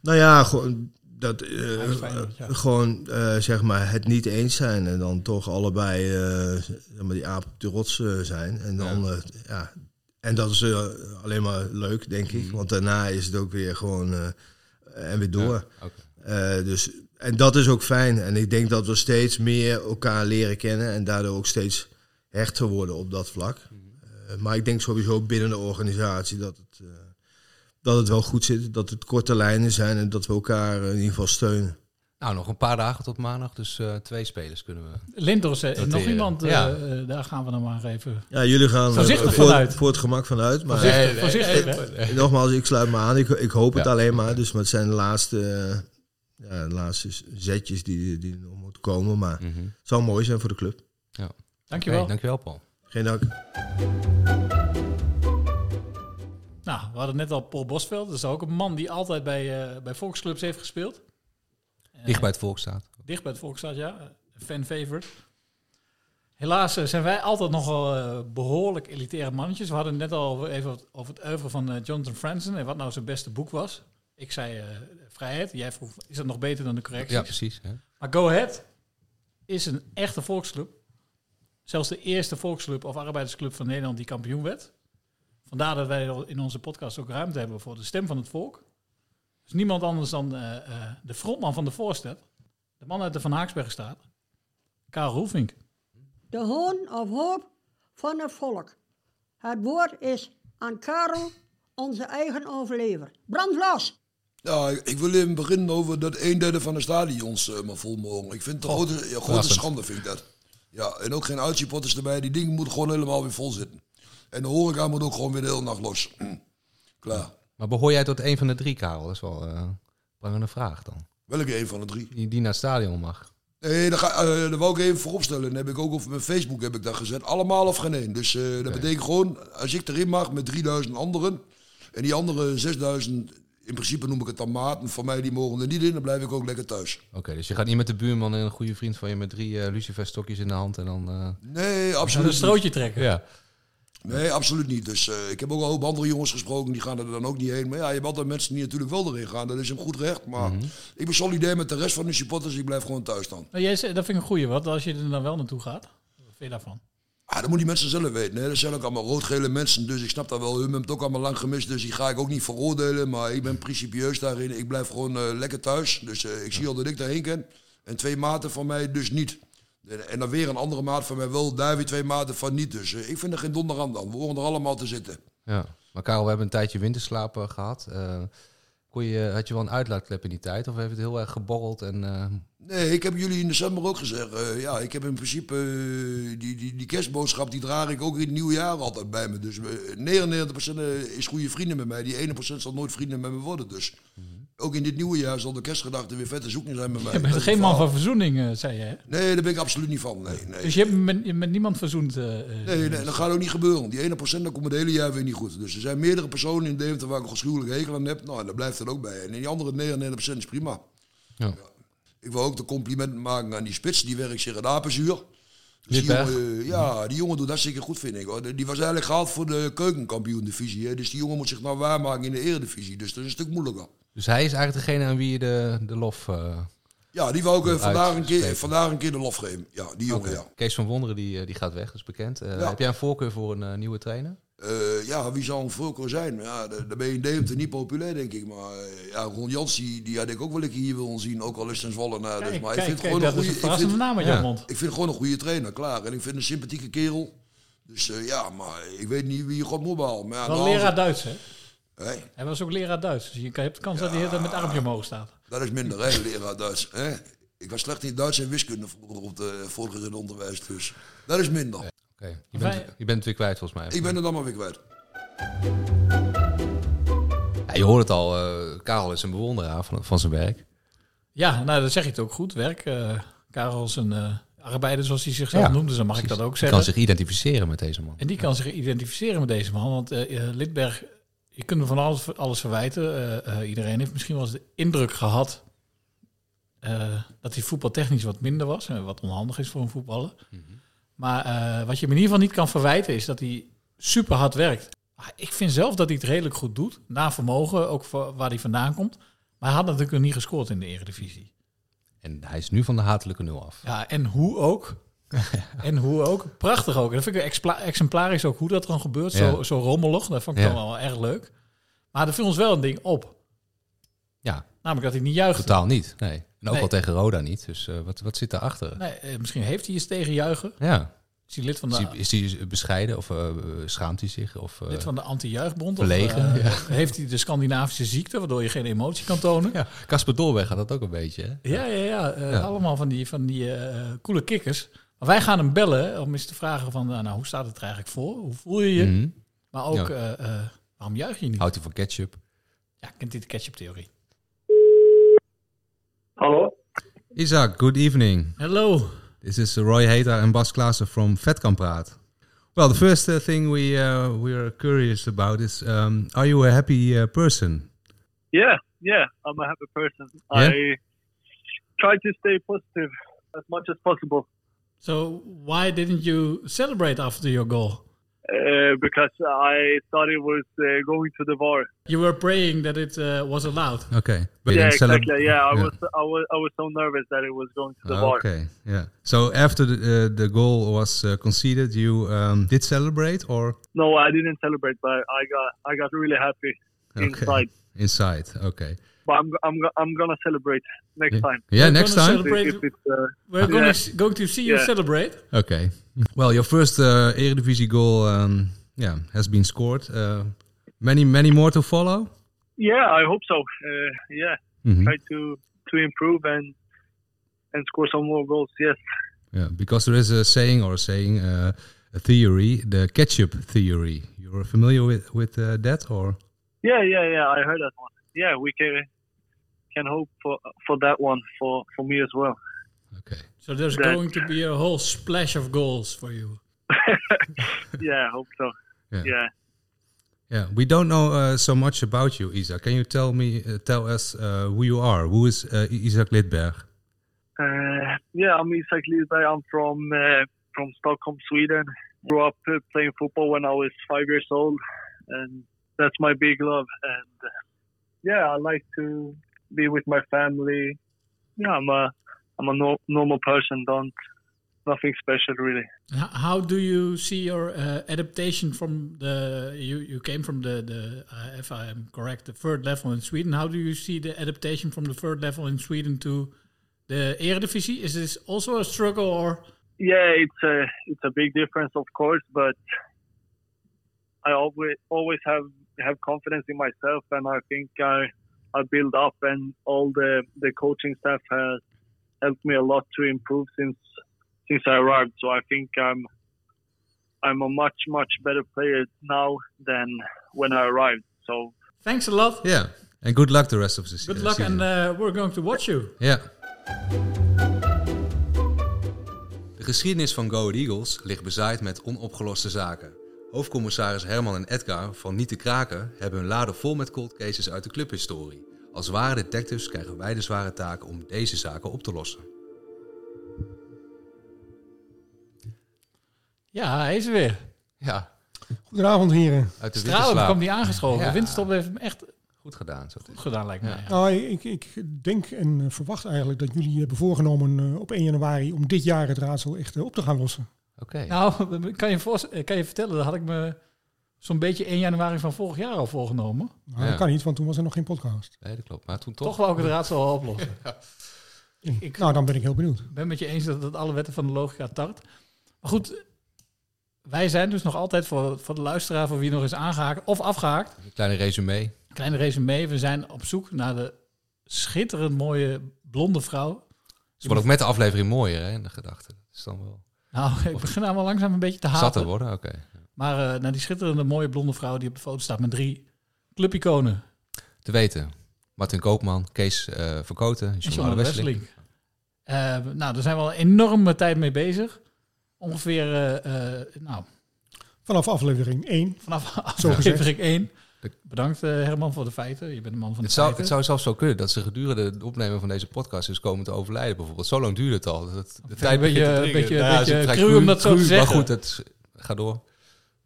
Nou ja, gewoon dat eh,
Ajax Feyenoord, ja.
gewoon eh, zeg maar het niet eens zijn en dan toch allebei eh, zeg maar die aap op de rots eh, zijn en dan ja. ja en dat is eh, alleen maar leuk denk ik,
Mhm.
want daarna is het ook weer gewoon eh, en weer door.
Ja, oké.
Eh, dus, en dat is ook fijn. En ik denk dat we steeds meer elkaar leren kennen en daardoor ook steeds hechter worden op dat vlak. Eh, maar ik denk sowieso binnen de organisatie dat het, eh, dat het wel goed zit, dat het korte lijnen zijn en dat we elkaar in ieder geval steunen.
Nou, nog een paar dagen tot maandag, dus eh, twee spelers kunnen we.
Lindos eh, en nog
Noteren.
iemand, eh,
Ja.
eh, daar gaan we dan maar even.
Ja, jullie gaan eh,
Voorzichtig
voor,
vanuit.
voor het gemak vanuit. Maar
Voorzichtig, voorzichtig, hè?
Eh, nogmaals, ik sluit me aan. Ik, ik hoop het
Ja.
alleen maar. Dus, maar het zijn de laatste, eh, ja, de laatste zetjes die, die nog moeten komen. Maar
Mhm.
het zal mooi zijn voor de club.
Dankjewel.
Oké, dankjewel, Paul.
Geen dank.
Nou, we hadden net al Paul Bosveld. Dat is ook een man die altijd bij, eh bij volksclubs heeft gespeeld.
Dicht bij het volk staat.
Dicht bij het Volksstad, ja. Eh, Fan favorite. Helaas eh, zijn wij altijd nogal eh, behoorlijk elitaire mannetjes. We hadden het net al even wat over het oeuvre van eh, Jonathan Franzen en wat nou zijn beste boek was. Ik zei eh, Vrijheid. Jij vroeg, is dat nog beter dan de correctie?
Ja, precies. Hè?
Maar Go Ahead is een echte volksclub. Zelfs de eerste volksclub of arbeidersclub van Nederland die kampioen werd. Vandaar dat wij in onze podcast ook ruimte hebben voor de stem van het volk. Dus niemand anders dan eh, eh, de frontman van de voorstad. De man uit de Van Haaksbergstraat. Karel Roefink.
De hoon of hoop van het volk. Het woord is aan Karel, onze eigen overlever. Brand los!
Ja, ik wil even beginnen over dat een derde van de stadions eh, maar vol mogen. Ik vind het een grote, ja, grote
verrassend.
schande, vind ik dat. Ja, en ook geen uitsupporters erbij. Die dingen moeten gewoon helemaal weer vol zitten. En de horeca moet ook gewoon weer de hele nacht los. Klaar.
Maar behoor jij tot een van de drie, Karel? Dat is wel eh, een prangende vraag dan.
Welke een van de drie?
Die, die naar het stadion mag.
Nee, daar, ga, eh, daar wou ik even voorop stellen. Dat heb ik ook op mijn Facebook heb ik dat gezet. Allemaal of geen één. Dus eh, dat betekent gewoon, als ik erin mag met 3000 anderen. En die andere 6000, in principe noem ik het dan maten. Van mij, die mogen er niet in. Dan blijf ik ook lekker thuis.
Oké, dus je gaat niet met de buurman en een goede vriend van je met drie eh luciferstokjes in de hand en dan... eh,
Nee,
Een
absoluut niet.
strootje trekken.
ja.
Nee, absoluut niet. Dus eh, ik heb ook een hoop andere jongens gesproken, die gaan er dan ook niet heen. Maar ja, je hebt altijd mensen die natuurlijk wel erin gaan. Dat is hem goed recht. Maar ik ben solidair met de rest van de supporters. Ik blijf gewoon thuis dan.
Nou, jij, zei- dat vind ik een goeie. Wat als je er dan wel naartoe gaat? Wat vind je daarvan?
Ah, dat moeten die mensen zelf weten. Hè. Dat zijn ook allemaal roodgele mensen. Dus ik snap dat wel. Hun hebben het ook allemaal lang gemist. Dus die ga ik ook niet veroordelen. Maar ik ben principieus daarin. Ik blijf gewoon eh, lekker thuis. Dus eh, ik zie al dat ik daarheen ken. En twee maten van mij dus niet. En, en dan weer een andere maat van mij wel. Daar weer twee maten van niet. Dus eh, ik vind er geen donder aan dan. We horen er allemaal te zitten.
ja. Maar Karel, we hebben een tijdje winterslaap eh, gehad. Eh, kon je, had je wel een uitlaatklep in die tijd? Of heeft het heel erg geborreld en... eh,
Nee, ik heb jullie in december ook gezegd. eh, ja, ik heb in principe eh, die, die, die kerstboodschap, die draag ik ook in het nieuwe jaar altijd bij me. Dus eh, 99% is goede vrienden met mij. Die 1% zal nooit vrienden met me worden. Dus
Mhm.
ook in dit nieuwe jaar zal de kerstgedachte weer vette zoeken zijn met mij.
Je bent
Dat is
geen
het
man
verhaal.
van verzoening, eh, zei je. hè?
Nee, daar ben ik absoluut niet van. Nee, nee.
Dus je hebt met, met niemand verzoend. eh, eh,
Nee, nee, dat gaat ook niet gebeuren. Die 1% dat komt het hele jaar weer niet goed. Dus er zijn meerdere personen in Deventer waar ik een gruwelijk hekel aan heb. Nou, en daar blijft het ook bij. En die andere 99% is prima.
Ja.
Ik wil ook de complimenten maken aan die spits. Die werkt zich een apenzuur. Dus die
Witberg.
jongen, eh, ja, die jongen doet dat zeker goed, vind ik. Hoor. Die was eigenlijk gehaald voor de keukenkampioen-divisie. hè. Dus die jongen moet zich nou waarmaken in de eredivisie. Dus dat is een stuk moeilijker.
Dus hij is eigenlijk degene aan wie je de, de lof... eh,
Ja, die wou ik eh,
Uit-
vandaag, een keer,
spreken.
vandaag een keer de lof geven. Ja, die jongen, ja.
Kees van Wonderen die, eh, die gaat weg, dat is bekend. Eh,
Ja.
Heb jij een voorkeur voor een eh, nieuwe trainer?
Eh, ja, wie zou een voorkeur zijn? Ja, da- daar ben je in Deventer niet populair, denk ik. Maar eh, ja, Ron Jans, die, die had ik ook wel een keer hier willen zien. Ook al is het een zwolle na.
Kijk,
dus, maar
kijk,
ik vind
kijk,
gewoon
dat
een
is een
goede... Ik
verrassende
vind,
naam uit jouw
Ja.
mond.
ik vind gewoon een goede trainer, klaar. En ik vind een sympathieke kerel. Dus eh, ja, maar ik weet niet wie je god moet behalen. Maar ja,
Wel
nou, als-
leraar Duits, hè?
Hé,
Hij was ook leraar Duits. Dus je hebt de kans dat hij de hele tijd met het armpje omhoog staat.
dat is minder, hè, leraar Duits. Hè? Ik was slecht in Duits en wiskunde vroeger op de eh, vorige onderwijs. Dus dat is minder.
Oké, je, bent,
Wij-
je bent het weer kwijt volgens mij.
Ik ben het allemaal weer kwijt.
Ja, je hoort het al, eh, Karel is een bewonderaar van, van zijn werk.
Ja, nou, dat zeg je het ook goed. Werk. eh Karel is een eh, arbeider, zoals hij zichzelf
Ja,
noemde, dan mag ik dat ook zeggen.
kan zich identificeren met deze man.
En die kan zich identificeren met deze man. Want eh, eh, Lidberg, je kunt hem van alles, alles verwijten. Eh, eh, iedereen heeft misschien wel eens de indruk gehad eh, dat hij voetbaltechnisch wat minder was. En wat onhandig is voor een voetballer. Maar eh, wat je hem in ieder geval niet kan verwijten is dat hij super hard werkt. Maar Ik vind zelf dat hij het redelijk goed doet. Na vermogen, ook voor waar hij vandaan komt. Maar hij had natuurlijk nog niet gescoord in de Eredivisie.
En hij is nu van de hatelijke nul af.
Ja, en hoe ook. en hoe ook. Prachtig ook. En dat vind ik expla- exemplarisch ook hoe dat dan gebeurt. Zo,
Ja.
zo rommelig. Dat vond ik
Ja.
dan wel erg leuk. Maar er viel ons wel een ding op.
Ja.
Namelijk dat hij niet juicht.
Totaal niet. Nee. En ook
Nee.
al tegen Roda niet. Dus eh, wat, wat zit daarachter?
Nee, eh, misschien heeft hij eens tegen juichen.
Ja.
Is hij lid van
Is
de,
hij, eh, is hij bescheiden of eh, schaamt hij zich? Of, eh,
lid van de anti-juichbond?
verlegen,
Of, eh, Heeft hij de Scandinavische ziekte, waardoor je geen emotie kan tonen? Ja,
Casper Dolberg had dat ook een beetje. Hè?
ja, ja. eh,
Ja.
Allemaal van die, van die eh, coole kikkers. Maar wij gaan hem bellen om eens te vragen van, nou, hoe staat het er eigenlijk voor? Hoe voel je je?
Mhm.
Maar ook, eh,
Ja. Ah.
eh, waarom juich je niet?
Houdt hij van ketchup?
Ja, kent hij de ketchup-theorie?
Hallo?
Isaac, good evening.
Hello.
This is Roy Hater and Bas Klaassen from Vet Kan Praat. Well, the first uh, thing we uh, we are curious about is, um, are you a happy uh, person?
Yeah, yeah, I'm a happy person. I try to stay positive as much as possible
So why didn't you celebrate after your goal?
uh, because I thought it was uh, going to the VAR.
You were praying that it uh, was allowed.
Okay. But Oh, you
Yeah,
didn't celeb-
exactly. Yeah, I was, I was, I was so nervous that it was going to the VAR.
Ah, Okay. Yeah. So after the, uh, the goal was uh, conceded, you um, did celebrate or
No, I didn't celebrate, but I got, I got really happy
Okay.
inside.
inside? Okay.
But I'm, I'm, I'm gonna celebrate next time.
Yeah, We're next gonna time.
celebrate-
If it's, uh,
We're gonna
yeah.
s- going to see you
Yeah.
celebrate.
Okay. Well, your first uh, Eredivisie goal, um, yeah, has been scored. Uh, many, many more to follow.
Yeah, I hope so. Uh, yeah,
Mhm.
try to to improve and and score some more goals. Yes.
Yeah, because there is a saying or a saying, uh, a theory, the ketchup theory. You're familiar with with uh, that, or
Yeah, yeah, yeah. I heard that one. Yeah, we can can hope for for that one for for me as well.
So there's
That-
going to be a whole splash of goals for you.
Yeah, I hope so.
Yeah.
Yeah.
yeah, we don't know uh, so much about you, Isaac. Can you tell me, uh, tell us uh, who you are? Who is uh, Isaac Lidberg?
Uh, yeah, I'm Isak Lidberg. I'm from uh, from Stockholm, Sweden. Grew up uh, playing football when I was five years old, and that's my big love. And uh, yeah, I like to be with my family. Yeah, I'm a I'm a no- normal person. Don't nothing special really.
H- how do you see your uh, adaptation from the you you came from the the uh, if I am correct the third level in Sweden? How do you see the adaptation from the third level in Sweden to the Eredivisie? Is this also a struggle or
Yeah, it's a it's a big difference, of course, but I always always have have confidence in myself, and I think I I build up, and all the the coaching staff has helped me a lot to improve since since I arrived. So I think I'm I'm a much much better player now than when I arrived. So
thanks a lot?
Yeah, and good luck the rest of the se-
Good luck,
season.
and uh, we're going to watch you.
Ja. De geschiedenis van Go Ahead Eagles ligt bezaaid met onopgeloste zaken. Hoofdcommissaris Herman en Edgar van Niet te Kraken hebben hun laden vol met cold cases uit de clubhistorie. Als ware detectives krijgen wij de zware taak om deze zaken op te lossen.
Ja, hij is er weer.
Ja,
Goedenavond, heren.
uit de
Stralend kwam die aangeschoven.
Ja.
Winstop heeft hem echt
Goed gedaan. Zo
goed gedaan, lijkt me. Ja.
Nou, ik, ik denk en eh, verwacht eigenlijk dat jullie hebben voorgenomen eh, op 1 januari om dit jaar het raadsel echt eh, op te gaan lossen.
Oké.
Nou, kan je, voors- eh, kan je vertellen, dat had ik me zo'n beetje 1 januari van vorig jaar al voorgenomen.
Nou,
Ja.
Dat kan niet, want toen was er nog geen podcast.
Nee, dat klopt. Maar toen
Toch,
toch.
wou ik het raadsel al oplossen. Ik-
nou, dan ben ik heel benieuwd.
Ik ben met je eens dat het alle wetten van de logica tart. Maar goed, wij zijn dus nog altijd voor, voor de luisteraar, voor wie nog is aangehaakt of afgehaakt,
Een kleine resume.
Kleine resume, we zijn op zoek naar de schitterend mooie blonde vrouw.
Ze wordt ook met de aflevering mooier hè, in de gedachte. Dat is dan wel
Nou, ik begin allemaal langzaam een beetje te haten.
zat te worden. Oké.
Maar eh, naar die schitterende mooie blonde vrouw die op de foto staat met drie clubiconen.
Te weten, Martin Koopman, Kees eh Verkoten en
En
John Wesseling.
Wesseling. Eh, nou, daar zijn we al een enorme tijd mee bezig. Ongeveer, eh, eh, nou,
Vanaf aflevering 1.
vanaf
Zo gezegd.
aflevering 1. Bedankt eh, Herman voor de feiten. Je bent de man van de
Het zou,
feiten.
het zou zelfs zo kunnen dat ze gedurende het opnemen van deze podcast is komen te overlijden bijvoorbeeld. Zo lang duurt het al. Dat, het- de
ik een beetje-
begint te
een
dringen.
beetje-
ja,
beetje
het is vrij
cru om dat zo te zeggen.
Maar goed, het ga door.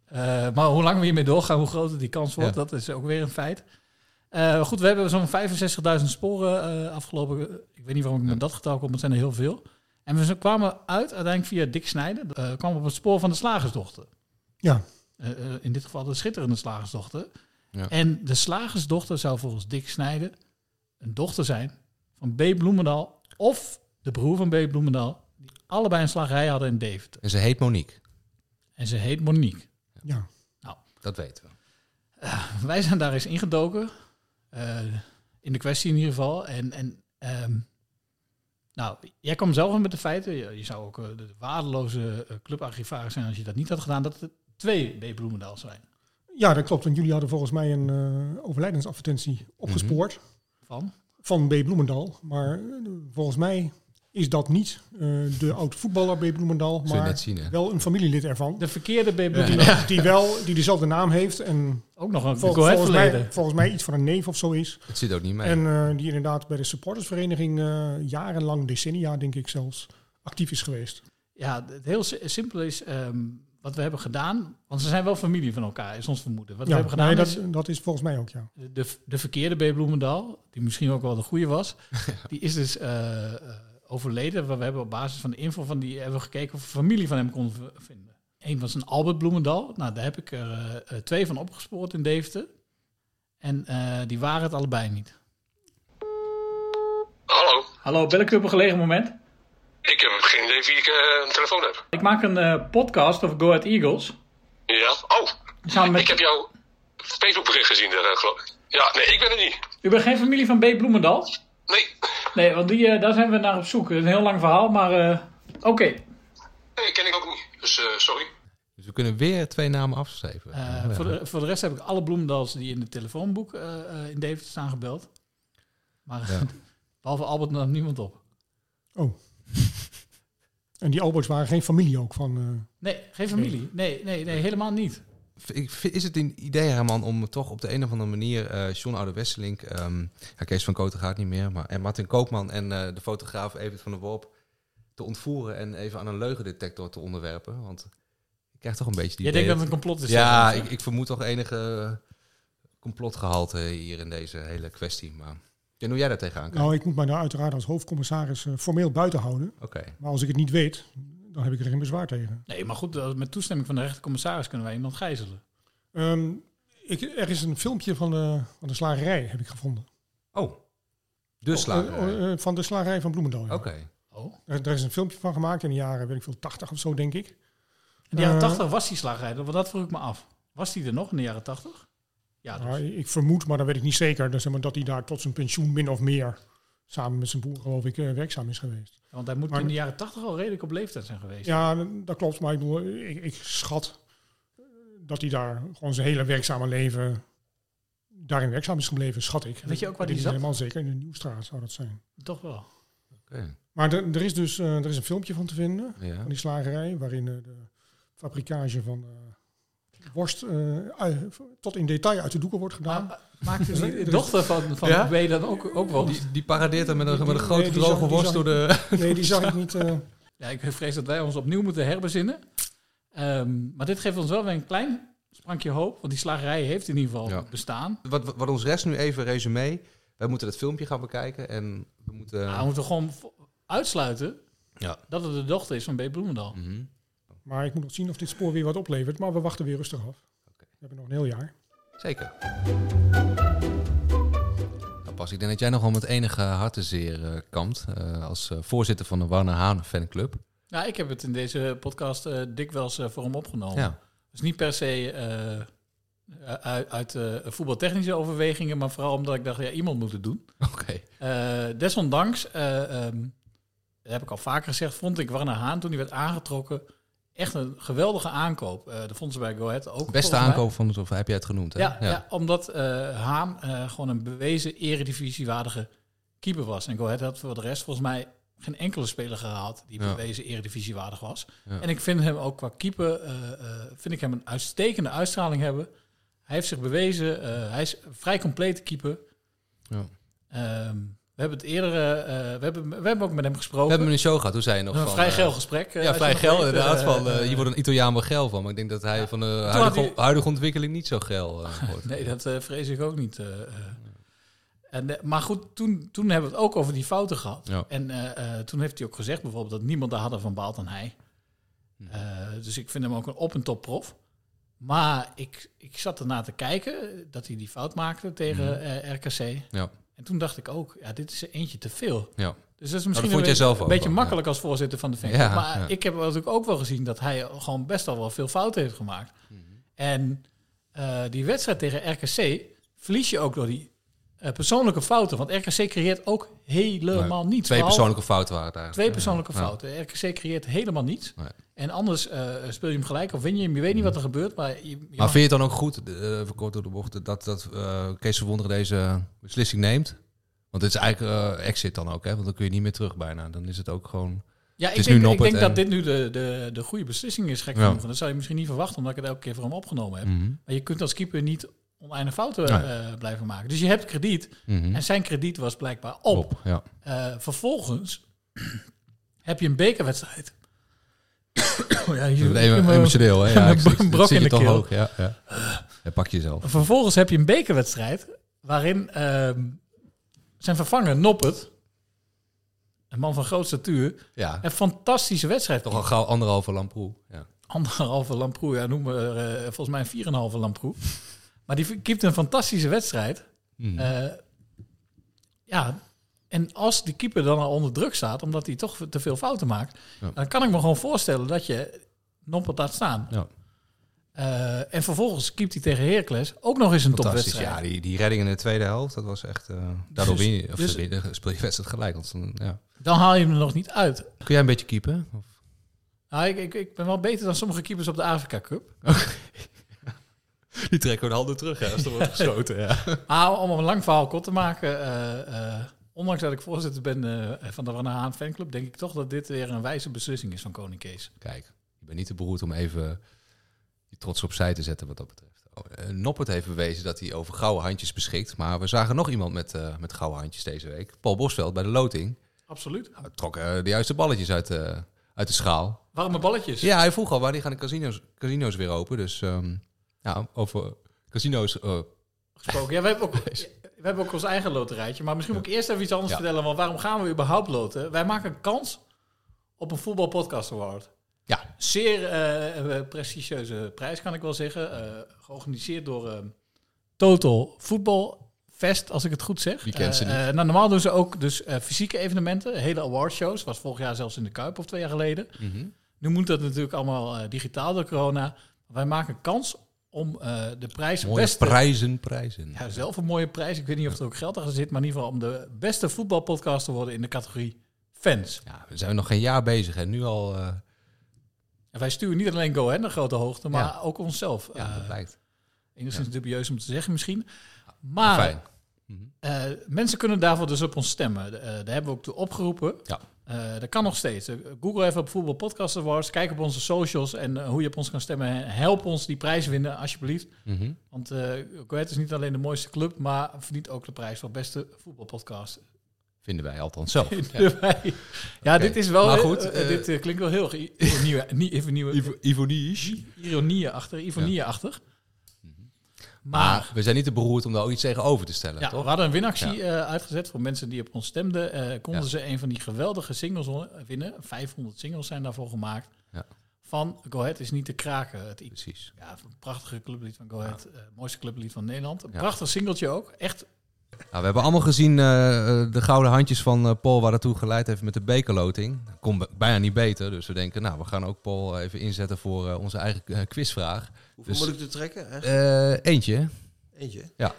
Eh, maar hoe langer we hiermee doorgaan, hoe groter die kans wordt. Dat is ook weer een feit. Eh, goed, we hebben zo'n 65.000 sporen eh, afgelopen. Ik weet niet waarom ik met dat getal kom, maar het zijn er heel veel. En we zo- kwamen uit, uiteindelijk via Dick Snijden, eh kwam op het spoor van de slagersdochter.
Ja.
Eh, eh, in dit geval de schitterende slagersdochter.
Ja.
En de slagersdochter zou volgens Dick Snijden een dochter zijn van B. Bloemendaal of de broer van B. Bloemendaal, die allebei een slagerij hadden in Deventer.
En ze heet Monique.
En ze heet Monique.
Ja.
Dat weten we.
wij zijn daar eens ingedoken. eh, in de kwestie in ieder geval. En, en ehm, nou, jij kwam zelf met de feiten. Je, je zou ook eh, de waardeloze eh, clubarchivaris zijn als je dat niet had gedaan. Dat er twee B. Bloemendaal zijn.
Ja, dat klopt. Want jullie hadden volgens mij een eh, overlijdensadvertentie
Mhm.
opgespoord.
Van?
Van B. Bloemendaal. Maar eh, volgens mij is dat niet eh, de oud voetballer B. Bloemendaal,
je
maar
net zien, hè?
wel een familielid ervan.
De verkeerde B. Bloemendaal.
Die, die wel, die dezelfde naam heeft en
Ook nog een
vol-
Go Ahead
volgens, mij,
verleden.
volgens mij iets van een neef of zo is.
Het zit ook niet mee.
En eh, die inderdaad bij de supportersvereniging eh, jarenlang, decennia denk ik zelfs, actief is geweest.
Ja, het heel si- simpel is ehm, wat we hebben gedaan. Want ze zijn wel familie van elkaar, is ons vermoeden. Wat
Ja,
we hebben gedaan
nee,
is,
dat, dat is volgens mij ook, ja.
de, de, de verkeerde B. Bloemendaal, die misschien ook wel de goede was, die is dus eh, eh, overleden. We we hebben op basis van de info van die hebben we gekeken of we familie van hem konden v- vinden. Eén was een Albert Bloemendaal. Nou, daar heb ik er eh, eh, twee van opgespoord in Deventer. En eh, die waren het allebei niet.
Hallo,
Hallo, bel ik u op een gelegen moment?
ik heb geen idee wie ik eh, een telefoon heb.
Ik maak een eh, podcast over Go Ahead Eagles.
Ja, oh,
Samen met...
ik heb jouw Facebookbericht gezien, daar, eh, geloof ik. Ja, nee, ik ben het niet.
U bent geen familie van B. Bloemendaal?
Nee,
Nee, want die, eh, daar zijn we naar op zoek. Het is een heel lang verhaal, maar eh, oké.
nee, ken ik ook niet. Dus eh, sorry.
Dus we kunnen weer twee namen afschrijven.
Eh, voor, de, voor de rest heb ik alle Bloemendals die in het telefoonboek eh, eh, in Deventer staan gebeld. Maar
Ja.
behalve Albert nam niemand op.
Oh. En die Alberts waren geen familie ook van... eh,
Nee, geen familie. Nee, nee, nee helemaal niet.
Ik vind- Is het een idee, Herman, om toch op de een of andere manier eh, John Oude Wesseling, ehm, ja, Kees van Koten gaat niet meer, maar en Martin Koopman en eh, de fotograaf Evert van der Worp te ontvoeren en even aan een leugendetector te onderwerpen? Want ik krijg toch een beetje die.
Jij
idee
denkt dat het een complot is,
Ja,
zeg maar.
ik, ik vermoed toch enige eh, complotgehalte hier in deze hele kwestie. Maar en hoe jij daar tegenaan kijkt.
nou, ik moet mij daar uiteraard als hoofdcommissaris eh, formeel buiten houden.
Oké.
Maar als ik het niet weet, dan heb ik er geen bezwaar tegen.
Nee, maar goed, eh, met toestemming van de rechtercommissaris kunnen wij iemand gijzelen.
Ehm, ik, er is een filmpje van de, van de slagerij, heb ik gevonden.
Oh, de slagerij.
Eh, eh, eh, van de slagerij van Bloemendaal. ja.
Oké.
Oh.
Er, er is een filmpje van gemaakt in de jaren, weet ik veel, 80 of zo, denk ik.
In de jaren
Eh,
80 was die slagrijder, want dat vroeg ik me af. Was die er nog in de jaren 80? Ja, dus.
nou, ik vermoed, maar dat weet ik niet zeker, dus, zeg maar, dat hij daar tot zijn pensioen min of meer samen met zijn boer, geloof ik, eh, werkzaam is geweest.
Want hij moet
Maar-
in de jaren 80 al redelijk op leeftijd zijn geweest.
Ja, dat klopt, maar ik, bedoel, ik, ik schat eh, dat hij daar gewoon zijn hele werkzame leven daarin werkzaam is gebleven, schat ik.
Weet je ook waar
Dit
die
is
zat?
Helemaal zeker, in de Nieuwstraat zou dat zijn.
Toch wel.
Oké.
Maar er, er is dus eh, er is een filmpje van te vinden,
Ja.
van die slagerij, waarin eh, de fabrikage van eh, worst eh, uit- tot in detail uit de doeken wordt gedaan.
Ah,
Maakt dus
Er
die
is-
dochter van, van
Ja?
B dan ook, ook wel?
oh, Die, die paradeert hem met een, met een grote
Nee, die
droge
zag- die
worst
zag-
door de.
Nee, die zag ik niet. eh,
Ja, ik vrees dat wij ons opnieuw moeten herbezinnen. Ehm, maar dit geeft ons wel weer een klein sprankje hoop. Want die slagerij heeft in ieder geval
Ja.
bestaan.
Wat, wat- wat ons rest nu even resume. Wij moeten dat filmpje gaan bekijken en we moeten.
Nou, we moeten gewoon vo- uitsluiten
Ja.
dat het de dochter is van B. Bloemendal.
Mhm.
maar ik moet nog zien of dit spoor weer wat oplevert. Maar we wachten weer rustig af. We hebben nog een heel jaar.
Zeker. Nou, Bas, ik denk dat jij nogal met enige hartezeer eh kampt eh, als eh, voorzitter van de Warner Haan fanclub.
Nou, ik heb het in deze podcast eh, dikwijls eh, voor hem opgenomen.
Ja.
Dus niet per se eh, uit, uit eh, voetbaltechnische overwegingen, maar vooral omdat ik dacht, ja, iemand moet het doen.
Oké.
Eh, desondanks, eh, ehm, dat heb ik al vaker gezegd, vond ik Warner Haan toen hij werd aangetrokken echt een geweldige aankoop. Eh dat vonden ze bij Go Ahead ook.
Beste
volgens mij.
aankoop van het, of heb jij het genoemd? Hè?
Ja, ja. omdat eh, Haan eh, gewoon een bewezen eredivisiewaardige keeper was. En Go Ahead had voor de rest volgens mij geen enkele speler gehaald die
Ja.
bewezen eredivisiewaardig was.
Ja.
En ik vind hem ook qua keeper eh, eh, vind ik hem een uitstekende uitstraling hebben. Hij heeft zich bewezen. eh, hij is een vrij complete keeper.
Ja.
Ehm, we hebben het eerder, eh, eh, we, hebben, we hebben ook met hem gesproken.
We hebben hem in de show gehad, toen zei je nog
Een
van...
vrij
eh,
geil gesprek, eh,
ja,
als
vrij
je nog
geil
weet,
inderdaad.
eh,
van, eh,
eh,
hier wordt een Italiaan wel geil van. Maar ik denk dat hij van de
had
huidige,
hij-
huidige ontwikkeling niet zo geil eh, wordt.
Nee, dat eh, vrees ik ook niet. eh, eh. en, eh, maar goed, toen, toen hebben we het ook over die fouten gehad.
Ja.
En eh, eh, toen heeft hij ook gezegd bijvoorbeeld dat niemand daar harder van baalt dan hij. Eh, dus ik vind hem ook een op- en top prof. Maar ik, ik zat ernaar te kijken eh, dat hij die fout maakte tegen
Mhm.
eh, RKC.
Ja.
En toen dacht ik ook, ja, dit is er eentje te veel.
Ja.
Dus dat is
Nou, dat
misschien
vond jij
een,
zelf
een
ook
beetje
wel,
makkelijk als voorzitter van de fanclub.
Ja,
maar
ja.
ik heb natuurlijk ook wel gezien dat hij gewoon best al wel veel fouten heeft gemaakt.
Mhm.
En eh, die wedstrijd tegen RKC verlies je ook door die eh, persoonlijke fouten. Want RKC creëert ook helemaal
Nee,
niets.
Twee
behalve-
persoonlijke fouten waren het eigenlijk.
Twee persoonlijke
Ja.
fouten. RKC creëert helemaal niets.
Nee. Mm.
En anders eh, speel je hem gelijk of win je hem. Je weet niet wat er gebeurt. Maar, je, je
Maar
mag-
vind je het dan ook goed, eh, even kort door de bocht, dat, dat eh, Kees van Wonderen deze beslissing neemt? Want het is eigenlijk eh, exit dan ook, hè? Want dan kun je niet meer terug bijna. Dan is het ook gewoon...
Ja,
het
ik
is
denk,
nu
ik
noppert
denk
en-
dat dit nu de, de, de goede beslissing is, gek
Ja.
genoeg. En dat zou je misschien niet verwachten, omdat ik het elke keer voor hem opgenomen heb.
Mhm.
Maar je kunt als keeper niet oneindig fouten
Nee.
eh, blijven maken. Dus je hebt krediet.
Mhm.
En zijn krediet was blijkbaar op.
Op, ja.
Eh, vervolgens heb je een bekerwedstrijd. oh ja, hier
Je wordt even
mijn-
emotioneel, hè? Ja,
mijn
ik- ik-
brok
dat zie
in
je
de
toch
keel.
ook, ja, ja. Ja, pak jezelf.
Vervolgens heb je een bekerwedstrijd waarin ehm, zijn vervanger Noppert, een man van groot statuur,
Ja.
een fantastische wedstrijd.
Toch al gauw anderhalve lamproe. Ja.
Anderhalve lamproe, ja, noem maar eh, volgens mij een 4,5 lamproe. maar die keept een fantastische wedstrijd.
Mhm.
Eh, ja, en als die keeper dan al onder druk staat, omdat hij toch te veel fouten maakt,
Ja.
dan kan ik me gewoon voorstellen dat je Noppert laat staan.
Ja.
Eh, en vervolgens keept hij tegen Heracles ook nog eens een
Fantastisch,
topwedstrijd.
ja. Die, die redding in de tweede helft, dat was echt... eh, daardoor
Dus-
win je, of
dus-
win je- speel je wedstrijd gelijk. want dan, ja.
Dan haal je hem er nog niet uit.
Kun jij een beetje keepen? Of?
Nou, ik, ik, ik ben wel beter dan sommige keepers op de Afrika Cup.
Die trekken de handen terug, hè, als er wordt geschoten. Ja.
Maar Ah, om een lang verhaal kort te maken, eh, eh, ondanks dat ik voorzitter ben eh, van de Van der Haan fanclub, denk ik toch dat dit weer een wijze beslissing is van koning Kees.
Kijk, ik ben niet te beroerd om even die trots opzij te zetten wat dat betreft. Oh, eh, Noppert heeft bewezen dat hij over gouden handjes beschikt. Maar we zagen nog iemand met, eh, met gouden handjes deze week. Paul Bosveld bij de loting.
Absoluut.
Nou, trok eh, de juiste balletjes uit, eh, uit de schaal.
Warme balletjes.
Ja, hij vroeg al waar die gaan de casino's, casino's weer open. Dus ehm, ja, over casino's. eh,
Gesproken. Ja, we hebben ook... We hebben ook ons eigen loterijtje, maar misschien moet ik eerst even iets anders
Ja.
vertellen. Want waarom gaan we überhaupt loten? Wij maken kans op een voetbalpodcast award.
Ja.
Zeer eh, eh, prestigieuze prijs, kan ik wel zeggen. Eh, georganiseerd door eh, Total Voetbal Fest, als ik het goed zeg.
Wie kent ze
Eh,
niet?
eh, nou, normaal doen ze ook dus eh, fysieke evenementen, hele awardshows. Was vorig jaar zelfs in de Kuip of twee jaar geleden.
Mhm.
Nu moet dat natuurlijk allemaal eh, digitaal door corona. Wij maken kans om eh, de prijs
mooie
beste...
prijzen, prijzen.
Ja, zelf een mooie prijs. Ik weet niet of er ook geld aan zit, maar in ieder geval om de beste voetbalpodcast te worden in de categorie fans.
Ja, we zijn nog geen jaar bezig en nu al... eh,
En wij sturen niet alleen Go Ahead naar grote hoogte, maar
Ja.
ook onszelf.
ja, dat
Eh,
lijkt.
enigszins dubieus om te zeggen misschien. Maar
Fijn.
eh, mensen kunnen daarvoor dus op ons stemmen. Eh, daar hebben we ook toe opgeroepen.
Ja.
Eh, dat kan nog steeds. Eh, Google even op Voetbal Podcast Awards. Kijk op onze socials en eh, hoe je op ons kan stemmen. En Help ons die prijs winnen, alsjeblieft.
Mhm.
Want eh Go Ahead is niet alleen de mooiste club, maar verdient ook de prijs voor beste voetbalpodcast.
Vinden wij althans zelf.
Vinden wij. Ja, dit is wel...
Maar goed,
eh, eh,
eh,
dit eh, klinkt wel heel erg i- ironie- niet even nieuwe,
Ivonie.
ironieachtig. Ironieachtig.
Mhm. Maar Ah, we zijn niet te beroerd om daar ook iets tegenover te stellen,
Ja,
toch?
we hadden een winactie
Ja.
eh, uitgezet voor mensen die op ons stemden. eh, konden
Ja.
ze een van die geweldige singles on- winnen. 500 singles zijn daarvoor gemaakt.
Ja.
Van Go Ahead is niet te kraken. Het,
Precies.
Ja, een prachtige clublied van Go Ahead. eh, mooiste clublied van Nederland. Een
Ja.
prachtig singeltje ook. Echt
Nou, we hebben allemaal gezien eh, eh, de gouden handjes van eh, Paul waar dat toe geleid heeft met de bekerloting. Kon b- bijna niet beter, dus we denken, nou, we gaan ook Paul even inzetten voor eh, onze eigen eh, quizvraag.
Hoeveel
Dus,
moet ik er trekken? Echt?
eh, eentje. hè?
Eentje?
Ja.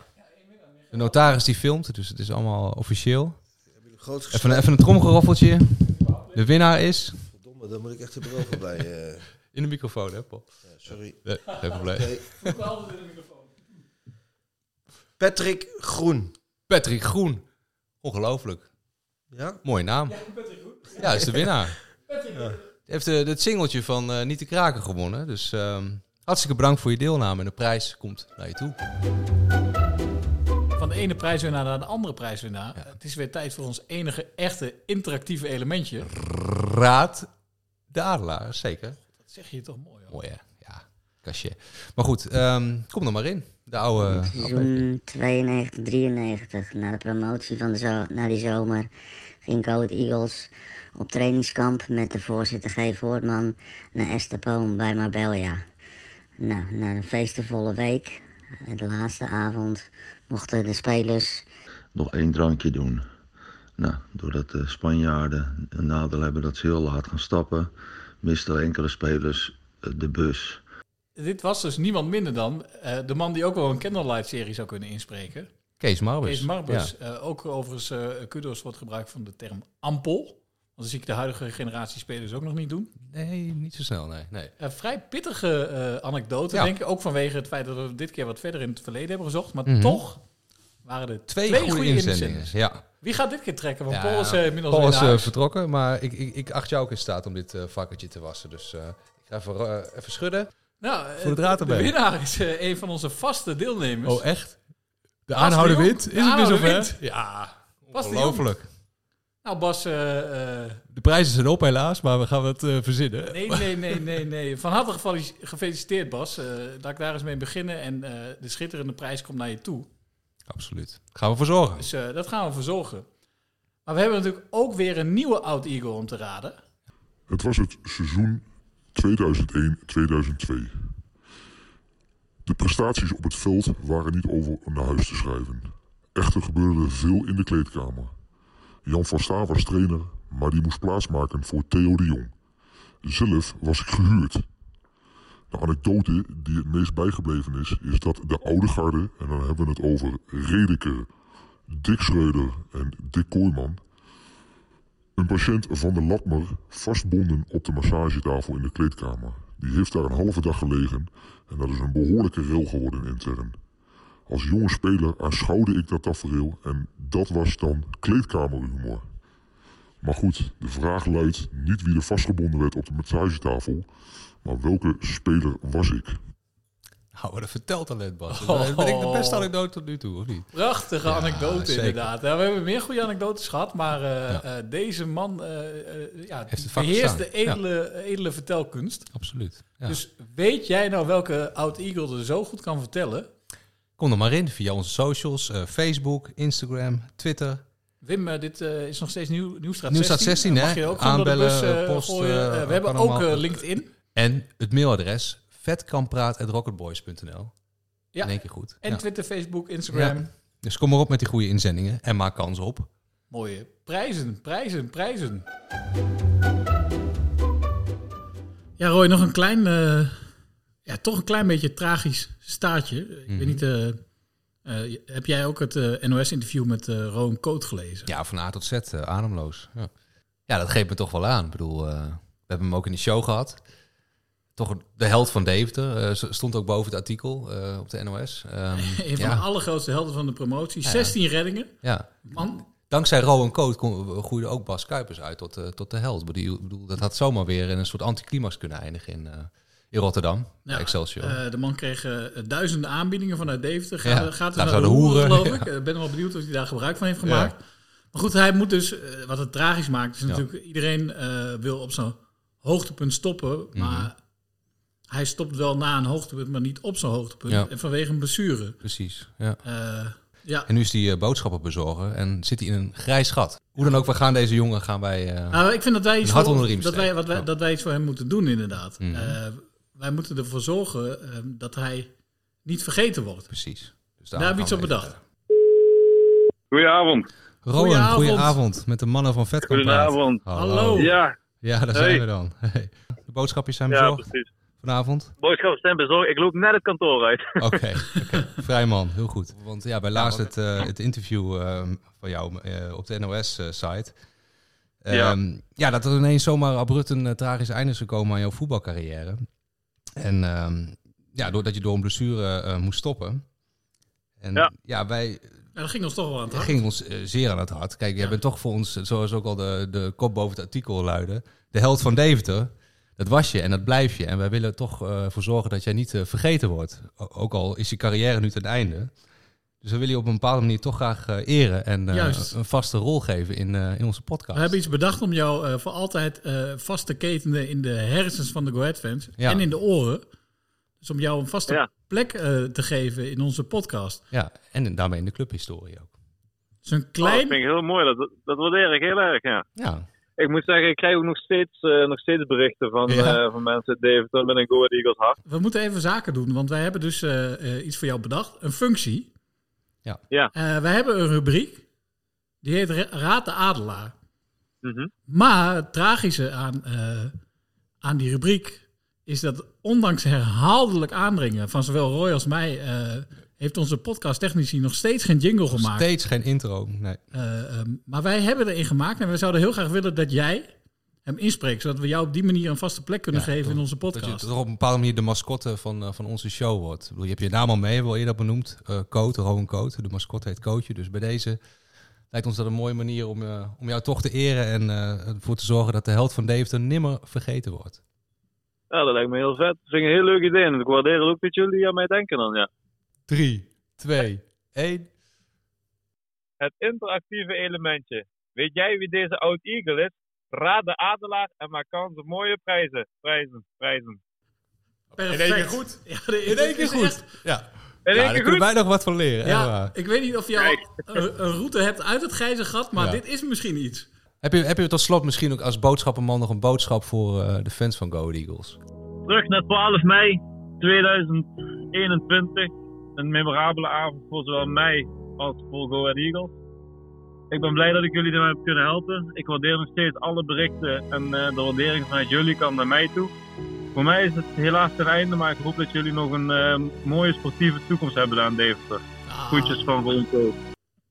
De notaris die filmt, dus het is allemaal officieel.
groot
Even,
gesprek?
een- even een tromgeroffeltje. De winnaar is...
Domme, daar moet ik echt de bril van bij. eh.
In de microfoon, hè, Paul?
Ja, sorry.
Nee, geen probleem.
Oké. Patrick Groen.
Patrick Groen. Ongelooflijk.
Ja?
Mooie naam. Ja, is de winnaar.
Ja.
Heeft eh, het singeltje van eh, Niet te Kraken gewonnen. Dus ehm, hartstikke bedankt voor je deelname. En de prijs komt naar je toe.
Van de ene prijswinnaar naar de andere prijswinnaar. Het is weer tijd voor ons enige echte interactieve elementje.
Raad de adelaar, zeker.
Dat zeg je toch mooi.
Mooi hè? Ja, kastje. Maar goed, ehm, kom er maar in. De oude...
Seizoen 92, 93, na de promotie van de zo- na die zomer, ging Goat Eagles op trainingskamp met de voorzitter G. Voortman naar Estepoon bij Marbella. Nou, na een feestenvolle week, de laatste avond, mochten de spelers
nog één drankje doen. Nou, doordat de Spanjaarden een nadeel hebben dat ze heel laat gaan stappen, misten enkele spelers eh, de bus.
Dit was dus niemand minder dan eh, de man die ook wel een Candlelight-serie zou kunnen inspreken.
Kees Marbus.
Kees Marbus.
Ja.
Eh, ook overigens, eh kudos wordt gebruikt van de term ampel. Want dat zie ik de huidige generatie spelers ook nog niet doen.
Nee, niet zo snel, nee. nee.
Eh, vrij pittige eh, anekdote,
Ja.
denk ik. Ook vanwege het feit dat we dit keer wat verder in het verleden hebben gezocht. Maar
Mhm.
toch waren er twee, goede, inzendingen.
Ja.
Wie gaat dit keer trekken? Want
Ja,
Paul is eh, inmiddels
Paul
weer
is,
naar
eh,
huis.
vertrokken, maar ik, ik, ik acht jou ook in staat om dit eh, vakkertje te wassen. Dus eh, ik ga even, eh, even schudden.
Nou, eh,
Voor de draad erbij.
winnaar is eh, een van onze vaste deelnemers.
Oh, echt? De
Bas
aanhouder
de Jong.
wint?
De
Is het weer
aanhouder
zover?
wint.
Ja,
Bas de Jong.
ongelooflijk.
Nou, Bas, eh, eh,
De prijzen zijn op helaas, maar we gaan het eh, verzinnen.
Nee, nee, nee, nee, nee. Van harte gefali- gefeliciteerd, Bas. Eh laat ik daar eens mee beginnen. En eh, de schitterende prijs komt naar je toe.
Absoluut. Gaan we voor zorgen.
Dus eh, dat gaan we verzorgen. Maar we hebben natuurlijk ook weer een nieuwe oud-eagle om te raden.
Het was het seizoen 2001-2002. De prestaties op het veld waren niet over naar huis te schrijven. Echter gebeurde er veel in de kleedkamer. Jan van Staal was trainer, maar die moest plaatsmaken voor Theo de Jong. Zelf was ik gehuurd. De anekdote die het meest bijgebleven is, is dat de oude garde, en dan hebben we het over Redeke, Dick Schreuder en Dick Kooijman, een patiënt van de Latmer vastbonden op de massagetafel in de kleedkamer. Die heeft daar een halve dag gelegen en dat is een behoorlijke rel geworden intern. Als jonge speler aanschouwde ik dat tafereel en dat was dan kleedkamerhumor. Maar goed, de vraag luidt niet wie er vastgebonden werd op de massagetafel, maar welke speler was ik?
Nou, wat een verteltalent, Bas.
Oh.
Dat ben ik de beste anekdote tot nu toe, of niet?
Prachtige
Ja,
anekdote,
zeker.
inderdaad. Ja, we hebben meer goede anekdotes gehad, maar eh, eh, deze man eh, eh, ja,
Heeft het vak
beheerst de
verstaan.
edele, edele vertelkunst.
Absoluut. ja.
Dus weet jij nou welke oud-eagle er zo goed kan vertellen?
Kom er maar in via onze socials, eh, Facebook, Instagram, Twitter.
Wim, eh, dit eh, is nog steeds nieuw, Nieuwstraat 16.
Nieuwstraat 16,
Mag
hè?
je ook gewoon door de
Aanbellen,
bus, eh,
eh, post.
gooien. Eh,
eh,
we hebben
kan
ook
allemaal.
eh, LinkedIn.
En het mailadres vetkanpraat.rocketboys.nl.
Ja.
In één keer goed.
En
Ja.
Twitter, Facebook, Instagram.
Ja. Dus kom maar op met die goede inzendingen en maak kans op.
Mooie prijzen, prijzen, prijzen. Ja, Roy, nog een klein, eh, ja, toch een klein beetje tragisch staartje. Ik
Mhm.
weet niet, eh, eh, heb jij ook het NOS-interview met eh Roan Koot gelezen?
Ja, van A tot Z, eh, ademloos. Ja. ja, dat geeft me toch wel aan. Ik bedoel, eh, we hebben hem ook in de show gehad. Toch een- de held van Deventer. eh, ze- stond ook boven het artikel eh, op de NOS. Ehm,
Een van
ja.
de allergrootste helden van de promotie.
Ja.
16 reddingen.
Ja.
Man.
Dankzij Rowan Coat kon- groeide ook Bas Kuipers uit tot, eh, tot de held. Ik bedoel, ik bedoel, dat had zomaar weer in een soort anticlimax kunnen eindigen in, eh, in Rotterdam.
Ja,
bij Excelsior.
eh, de man kreeg eh, duizenden aanbiedingen vanuit Deventer. Ga- gaat
Ja,
er
daar
naar de
zouden
hoeren,
hoeren,
geloof ik. Ik ben wel benieuwd of hij daar gebruik van heeft gemaakt. Maar goed, hij moet dus, eh, wat het tragisch maakt, is
Ja.
natuurlijk iedereen eh, wil op zijn hoogtepunt stoppen.
Mhm.
Maar hij stopt wel na een hoogtepunt, maar niet op zijn hoogtepunt.
Ja.
En vanwege een blessure.
Precies, ja.
Eh, ja.
En nu is die eh, boodschappen bezorgen en zit hij in een grijs gat. Hoe dan ook, we gaan deze jongen gaan wij eh,
Nou, ik vind dat wij
een
iets,
hart
voor,
onder de riem
dat, wij,
steken.
wat wij, dat wij iets voor hem moeten doen, inderdaad.
Mhm.
Eh, wij moeten ervoor zorgen eh, dat hij niet vergeten wordt.
Precies. Dus
Daar hebben
daarom
we
gaan
iets op
we eh,
bedacht.
Goedenavond.
Rowan,
Goedenavond.
goedenavond. Met de mannen van Vetkamp.
Goedenavond. Hallo. Ja.
Ja, daar
Hey.
zijn we dan. Hey. De boodschapjes zijn
Ja,
bezorgd
precies.
vanavond.
Boodschappen zijn bezorgd. Ik loop net het kantoor uit.
Oké, oké. vrij man. Heel goed. Want ja, wij lazen het, eh, het interview eh, van jou eh, op de NOS-site.
Ja.
ja, dat er ineens zomaar abrupt een eh, tragisch einde is gekomen aan jouw voetbalcarrière. En ehm, ja, doordat je door een blessure eh, moest stoppen. En ja. wij
Nou, dat ging ons toch wel aan het
Het
hart.
ging ons eh, zeer aan het hart. Kijk, jij bent toch voor ons, zoals ook al de, de kop boven het artikel luidde, de held van Deventer. Dat was je en dat blijf je. En wij willen er toch eh, voor zorgen dat jij niet eh, vergeten wordt. O- ook al is je carrière nu ten einde. Dus we willen je op een bepaalde manier toch graag eh, eren en eh,
Juist.
een vaste rol geven in, eh, in onze podcast.
We hebben iets bedacht om jou eh, voor altijd eh, vast te ketenen in de hersens van de Go Ahead fans.
Ja.
En in de oren. Dus om jou een vaste
Ja.
plek eh, te geven in onze podcast.
Ja, en daarmee in de clubhistorie ook.
Zo'n
Oh,
klein...
dat vind ik heel mooi. Dat, dat waardeer ik heel erg, ja.
Ja.
Ik moet zeggen, ik krijg ook nog steeds, eh, nog steeds berichten van,
Ja.
eh, van mensen. David, dan ben ik Go Ahead Eagles hard.
We moeten even zaken doen, want wij hebben dus eh, eh, iets voor jou bedacht. Een functie. Eh,
Ja.
ja.
wij hebben een rubriek. Die heet Ra- Raad de Adelaar.
Mhm.
Maar het tragische aan, eh, aan die rubriek is dat ondanks herhaaldelijk aandringen van zowel Roy als mij... eh, heeft onze podcasttechnici nog steeds geen jingle
Nog
gemaakt.
steeds geen intro. Nee.
Eh, ehm, maar wij hebben erin gemaakt en we zouden heel graag willen dat jij hem inspreekt. Zodat we jou op die manier een vaste plek kunnen
Ja,
geven
toch-
in onze
Dat je
podcast.
toch op een bepaalde manier de mascotte van, eh, van onze show wordt. Ik bedoel, je hebt je naam al mee, wil je dat benoemd? Eh Coat, Rowan Coat. De mascotte heet Cootje. Dus bij deze lijkt ons dat een mooie manier om, eh, om jou toch te eren. En eh, ervoor te zorgen dat de held van Deventer nimmer vergeten wordt.
Ja, dat lijkt me heel vet. Dat vind ik een heel leuk idee. En ik waardeer het ook dat jullie aan mij denken dan, ja.
Drie, twee, één.
Het interactieve elementje. Weet jij wie deze oud Eagle is? Raad de adelaar en maak kans op mooie prijzen. Prijzen, prijzen.
Perfect.
In één keer goed.
Ja,
In één keer
is
goed.
echt-
Ja.
In één
ja,
keer
daar
goed.
kunnen wij nog wat van leren. echt
Ja,
waar.
ik weet niet of je al een, een route hebt uit het grijze gat, maar
Ja.
dit is misschien iets.
Heb, je, heb je tot slot misschien ook als boodschappenman nog een boodschap voor eh, de fans van Go Ahead Eagles?
Terug naar 12 mei 2021. Een memorabele avond voor zowel mij als voor Go Ahead Eagles. Ik ben blij dat ik jullie ermee heb kunnen helpen. Ik waardeer nog steeds alle berichten en eh, de waardering vanuit jullie kan naar mij toe. Voor mij is het helaas ten einde, maar ik hoop dat jullie nog een eh, mooie sportieve toekomst hebben aan Deventer. Groetjes van Ronco.
Ah,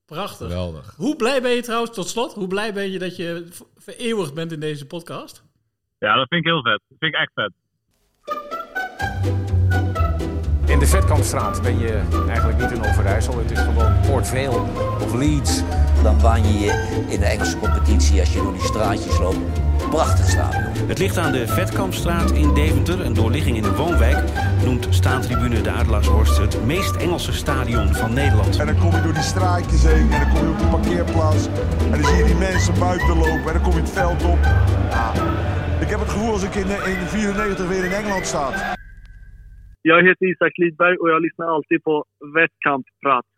Prachtig.
Geweldig.
Hoe blij ben je trouwens, tot slot, hoe blij ben je dat je v- vereeuwigd bent in deze podcast?
Ja, dat vind ik heel vet. Dat vind ik echt vet.
In de Vetkampstraat ben je eigenlijk niet in Overijssel. Het is gewoon Port Vale.
Of Leeds, dan baan je je in de Engelse competitie als je door die straatjes loopt. Prachtig stadion.
Het ligt aan de Vetkampstraat in Deventer, een doorligging in een woonwijk. Noemt staantribune de Adelaarshorst het meest Engelse stadion van Nederland.
En dan kom je door die straatjes heen en dan kom je op de parkeerplaats. En dan zie je die mensen buiten lopen en dan kom je het veld op. Ja, ik heb het gevoel als ik in 1994 weer in Engeland sta.
Jag heter Isak Lidberg och jag lyssnar alltid på Västkampprat.